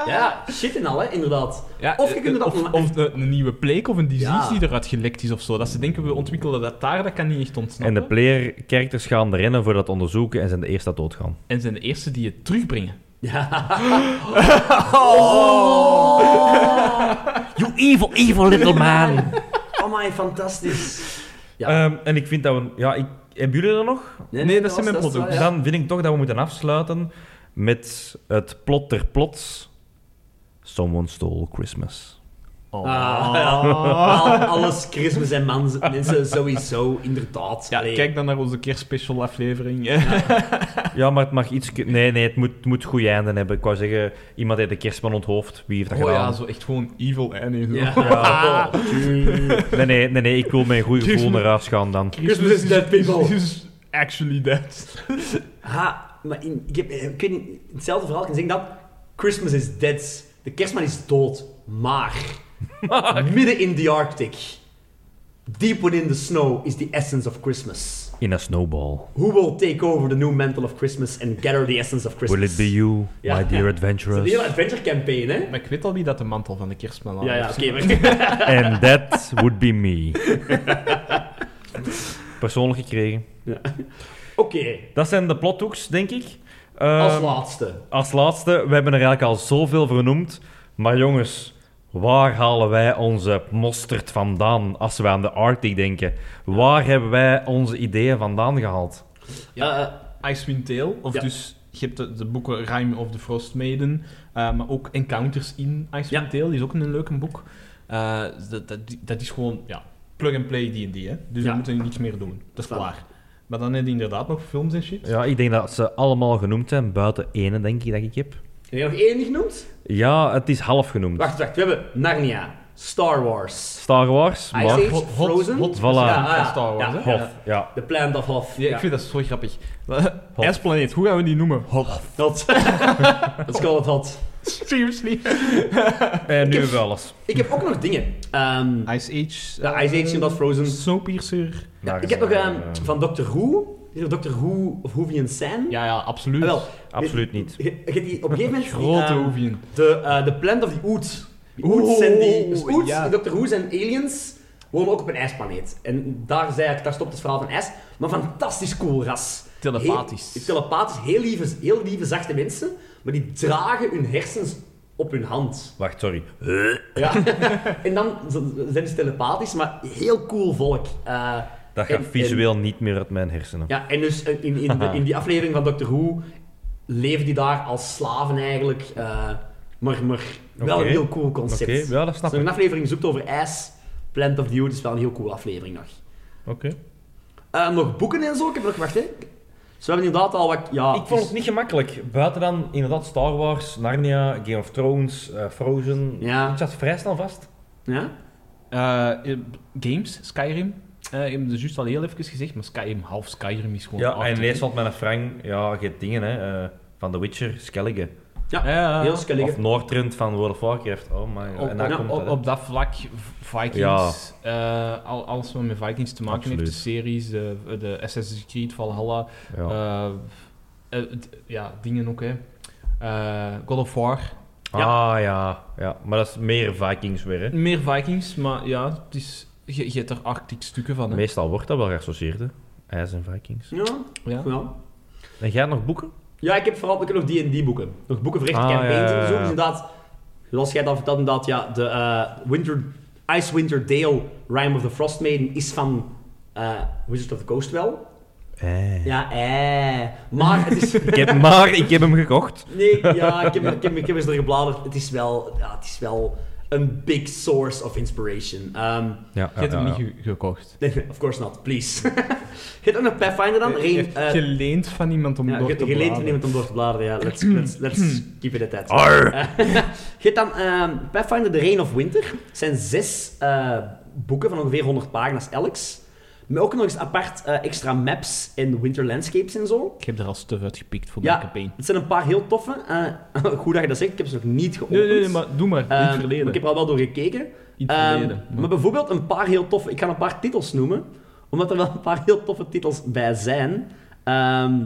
Ja, shit en al, hè, inderdaad. Ja, of je eh, kunt het of, op- of de- een nieuwe plague of een disease Ja. die eruit gelekt is of zo. Dat ze denken, we ontwikkelen dat daar, dat kan niet echt En ontsnappen. de player characters gaan rennen voor dat onderzoeken en zijn de eerste dat doodgaan. En zijn de eerste die het terugbrengen. Oh! You evil, evil little man! Oh my, fantastisch. Ja. Ehm, en ik vind dat we... Ja, ik, hebben jullie er nog? nee, dat zijn mijn is- producten. ja. Dan vind ik toch dat we moeten afsluiten met het plot ter plots. Someone stole Christmas. Oh. Ah, ja. Al- Alles Christmas en mans- mensen sowieso, inderdaad. Ja, Allee. kijk dan naar onze kerstspecial aflevering. hè. Ja, maar het mag iets... Nee, nee, het moet, het moet goede einde hebben. Ik wou zeggen, iemand heeft de kerstman onthoofd. Wie heeft dat Oh gedaan? ja, zo echt gewoon evil einde. zo. Ja. Ja. Oh, tuurlijk. Nee, nee, nee, nee, ik wil mijn goede gevoel naar huis gaan dan. Christmas is dead, people. is actually dead. Ha, maar in, ik, heb, eh, ik weet niet, hetzelfde verhaal kan zeggen dat Christmas is dead. De kerstman is dood, maar midden in the Arctic, deep within the snow, is the essence of Christmas. In een snowball. Who will take over the new mantle of Christmas and gather the essence of Christmas? Will it be you, Ja. my dear Het is een hele adventurers? adventure campaign, hè? Maar ik weet al wie dat de mantel van de kerstman aan Ja, ja, heeft. oké. maar- And that would be me. Persoonlijk gekregen. Oké, Dat zijn de plothoeks, denk ik. Ehm, als laatste. als laatste, we hebben er eigenlijk al zoveel vernoemd. Maar jongens, waar halen wij onze mosterd vandaan als we aan de Arctic denken? Waar hebben wij onze ideeën vandaan gehaald? Ja, eh, Icewind Dale, of Ja. dus je hebt de, de boeken Rime of the Frost Maiden, eh, maar ook Encounters in Icewind Dale is ook een leuk boek. Eh, dat, dat, dat is gewoon ja, plug-and-play D&D, hè. dus Ja. we moeten niets meer doen. Dat is Voilà. klaar. Maar dan heb je inderdaad nog films en shit. Ja, ik denk dat ze allemaal genoemd zijn, buiten ene, denk ik, dat ik heb. heb je nog één niet genoemd? Ja, het is half genoemd. Wacht, wacht, we hebben Narnia, Star Wars, Star Wars, Ice maar... Age, Hot- hot- Frozen, hot- Voilà. Ja, ah, van ja. Star Wars, Ja. hè. Hof, ja. The Plant of Hof. Ja, ik vind dat zo grappig. Ijsplaneet, hoe gaan we die noemen? Hot. Hot. Let's call it hot. Seriously? En Eh, nu hebben we alles. Ik heb ook nog dingen. Ah, Ehm, Ice Age. Ja, eh, Ice Age, inderdaad, Frozen. Snowpiercer. ja, Daar ik is heb nog het, ehm, eh, van Doctor Who. Is er Doctor Who of Whovian San? Ja, ja, absoluut. Ah, wel, Absoluut niet. je, je hebt die op een gegeven moment... die, Grote ehm, hoevien. de, eh, de Plant of the Ood. Die Oods Oeh, zijn die... Dus Oods, ja. in Doctor Who zijn aliens, wonen ook op een ijsplaneet. En daar, zei ik, daar stopt het verhaal van ijs. Maar fantastisch cool ras. Telepathisch. Heel, telepathisch, heel lieve, heel lieve, zachte mensen. Maar die dragen hun hersens op hun hand. Wacht, sorry. Ja. en dan z- zijn ze telepathisch, maar heel cool volk. Eh, Dat gaat en- en- visueel niet meer uit mijn hersenen. ja, en dus in, in, in, de- in die aflevering van Doctor Who leven die daar als slaven eigenlijk. eh, maar, maar wel Oké. een heel cool Oké, concept. ja, dat snap Als je een ik. aflevering zoekt over ijs, Plant of the Youth is wel een heel cool aflevering nog. Oké. Eh, nog boeken en zo, ik heb nog, wacht hè. Dus we hebben inderdaad al wat... Ja, ik vond dus- het niet gemakkelijk. Buiten dan inderdaad Star Wars, Narnia, Game of Thrones, eh, Frozen. Ja. Ik zat vrij snel vast. Ja? Eh, eh, games, Skyrim. Eh, ik heb het dus juist al heel even gezegd, maar Skyrim, half Skyrim is gewoon... Ja, hard. en ineens valt met een Frank, ja, je hebt dingen, hè. eh, van The Witcher, Skellige. Ja, ja, ja. Heel skellige. Eh, Of Noordtrend van World of Warcraft. Oh my god. Op, En daar ja, komt op, het, hè. op dat vlak, v- Vikings, eh, al, alles wat met Vikings te maken Absoluut. heeft, de series, de, de Assassin's Creed, Valhalla, Ja. Eh, eh, d- ja, dingen ook, hè. Eh, God of War. Ah ja. ja, maar dat is meer Vikings weer. Hè. Meer Vikings, maar ja, het is, je, je hebt er arctic stukken van, hè. Meestal wordt dat wel geassocieerd, hè? IJs en Vikings. Ja, Ja. ja. En jij nog boeken? Ja, ik heb vooral ik heb nog D&D boeken. Nog boeken voor echt Ah, campaigns ja, ja, ja. en zo. Dus inderdaad, zoals jij dat vertelt, inderdaad, ja, de eh, Winter, Ice Winter Dale, Rime of the Frost Maiden, is van eh, Wizard of the Coast wel. Ja, eh. Maar het is... Ik heb, maar ik heb hem gekocht. Nee, ja, ik heb, ik heb, ik heb eens er gebladerd. Het is wel, ja, het is wel een big source of inspiration. Ehm, Ja, Je hebt hem niet ge- gekocht. nee, of course not, please. je hebt ook nog Pathfinder dan? Rein, Je hebt eh, geleend van iemand om ja, door je te je leent er bladeren. Mm. niemand om door te bladeren, ja. Let's, let's, let's keep it at that. Arr. Eh, je hebt dan ehm, Pathfinder The Reign of Winter. Het zijn zes eh, boeken van ongeveer 100 pagina's elks. Maar ook nog eens apart eh, extra maps en winter landscapes en zo. Ik heb er al stuff uitgepikt voor Ja. mijn campaign. Het zijn een paar heel toffe. eh, goed dat je dat zegt, ik heb ze nog niet geopend. Nee, nee, nee, maar doe maar. Ehm, in het verleden. Ik heb er al wel door gekeken. In het Ehm, verleden. maar. bijvoorbeeld een paar heel toffe... Ik ga een paar titels noemen, omdat er wel een paar heel toffe titels bij zijn. Ehm,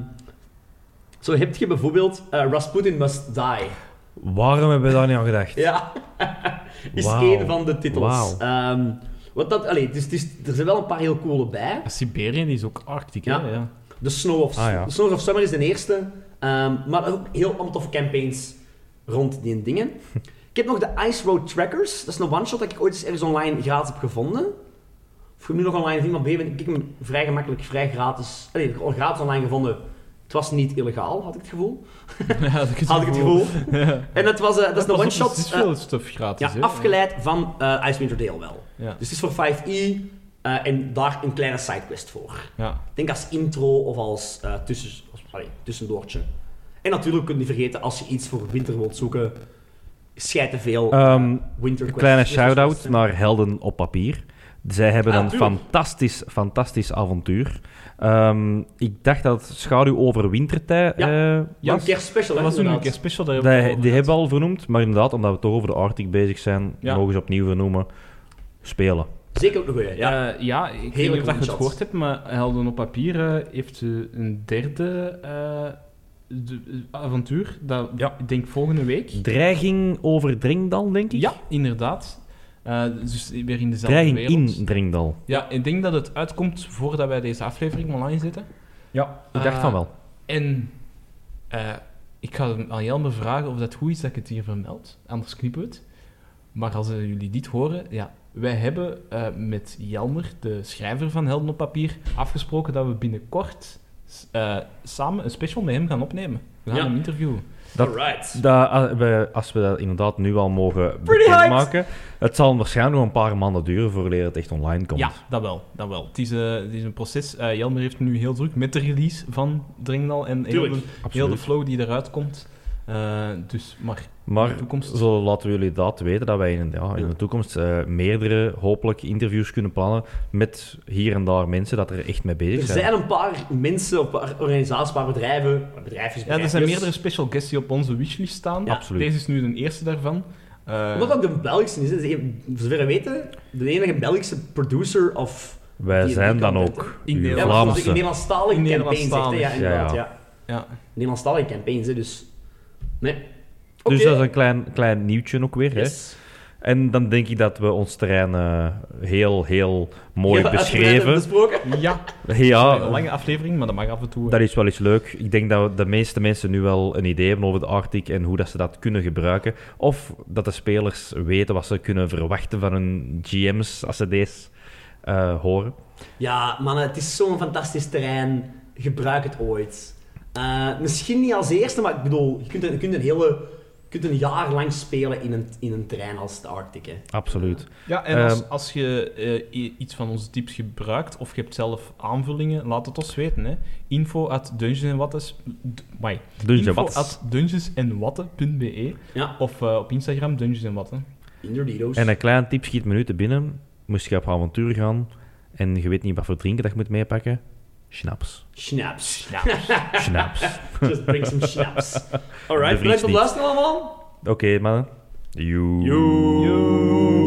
zo heb je bijvoorbeeld eh, Rasputin Must Die. Waarom hebben we daar niet aan gedacht? Ja. is Wauw. één van de titels. Wauw. Ehm, wat dat, allee, dus, het is- er zijn wel een paar heel coole bij. Ja, Siberië is ook arctic, Ja. hè. Ja. The Snow of, Ah, ja. The Snow of Summer is de eerste. ehm, maar ook heel allemaal toffe campaigns rond die dingen. ik heb nog de Ice Road Trackers. Dat is een one-shot dat ik ooit eens ergens online gratis heb gevonden. Of je hem nu nog online vindt, maar bij ben ik heb hem vrij gemakkelijk, vrij gratis... Allee, ik heb hem gratis online gevonden. Het was niet illegaal, had ik het gevoel. Had ik Had ik het gevoel. En dat was, eh, dat is een Pas op, one-shot. Het is eh, veel stuff gratis, ja, hè. afgeleid van eh Ice Winter Dale wel. Ja. Dus het is voor 5e eh, en daar een kleine sidequest voor. Ja. Ik denk als intro of als, eh tussen, als allee, tussendoortje. En natuurlijk kun je niet vergeten, als je iets voor winter wilt zoeken, schijt te veel Ehm, winter Een kleine quests. shout-out naar Helden op Papier. Zij hebben Ah, een tuurlijk. fantastisch, fantastisch avontuur. Ehm, ik dacht dat het schaduw over wintertijd eh, Ja, een was. kerstspecial, Dat hè, was toen een inderdaad. keer special. daar Die, hebben we die het over hebben we al vernoemd, maar inderdaad, omdat we toch over de Arctic bezig zijn, Ja. nog eens opnieuw vernoemen. Spelen. Zeker ook een goeie, ja. Ja, Eh, ja ik weet Heerlijk niet of dat je het one-shot. gehoord hebt, maar Helden op Papier eh, heeft eh, een derde eh, de- eh, avontuur. Dat Ja. ik denk volgende week. Dreiging over Dringdal, denk ik? Ja, inderdaad. Eh, dus weer in dezelfde Dreiging wereld. in Dringdal. Ja, ik denk dat het uitkomt voordat wij deze aflevering online zetten. Ja. Ik dacht Eh, van wel. En eh, ik ga aan Jelme vragen of dat goed is dat ik het hier vermeld. Anders knippen we het. Maar als eh, jullie dit horen, ja. Wij hebben eh, met Jelmer, de schrijver van Helden op Papier, afgesproken dat we binnenkort s- eh, samen een special met hem gaan opnemen. We gaan Ja. hem interviewen. dat- Alright. Dat, als, we, als we dat inderdaad nu al mogen Pretty hyped. bekendmaken, het zal waarschijnlijk nog een paar maanden duren voordat het echt online komt. Dus Ja, dat wel. Dat wel. Het, is, eh, het is een proces. Eh, Jelmer heeft nu heel druk met de release van Dringnal en heel Tuurlijk. de, heel de flow die eruit komt. Eh, dus, maar in Maar de toekomst... zo laten we jullie dat weten, dat wij in, ja, in de toekomst eh, meerdere, hopelijk, interviews kunnen plannen met hier en daar mensen dat er echt mee bezig Er zijn. zijn een paar mensen, op paar organisaties, een paar bedrijven. Bedrijfjes, Ja, er zijn bedrijfjes. meerdere special guests die op onze wishlist staan. Ja. Absoluut. Deze is nu de eerste daarvan. Eh, Omdat dat de Belgische is, hè. Dat is een- voor zover we weten, de enige Belgische producer of... Wij die- zijn die dan content, ook In uw Nederland. Ja, maar soms in Vlaamse. Nederlandstalige campaigns, Nederlandstalig, echt, hè. Ja, ja, inderdaad, ja. ja. ja. Nederlandstalige campaigns, hè, dus... Nee. Oké. Dus dat is een klein, klein nieuwtje ook weer. Hè? Yes. En dan denk ik dat we ons terrein eh, heel, heel mooi Ja, uitgebreid hebben beschreven. besproken. ja. Ja, een lange aflevering, maar dat mag af en toe. hè. Dat is wel eens leuk. Ik denk dat de meeste mensen nu wel een idee hebben over de Arctic en hoe dat ze dat kunnen gebruiken. Of dat de spelers weten wat ze kunnen verwachten van hun GM's als ze deze eh, horen. Ja, mannen, het is zo'n fantastisch terrein. Gebruik het ooit. Eh, misschien niet als eerste, maar ik bedoel, je kunt, een- je kunt een hele kunt een jaar lang spelen in een, in een trein als de Arctic. Hè. Absoluut. Ja, en als, Ehm. als je eh, i- iets van onze tips gebruikt of je hebt zelf aanvullingen, laat het ons weten. Hè. Info at dungeons Dus je Eh, Info wat? at dungeonsandwatten.be Ja, of eh, op Instagram dungeons en watten. inderdaad. En een klein tip schiet me nu te binnen. Moest je op avontuur gaan en je weet niet wat voor drinken dat je moet meepakken? Schnaps. Snaps. Schnaps. Just bring some snaps. De Alright, bedankt Vries voor niet. het luisteren allemaal. Oké, mannen. Joe. Joe.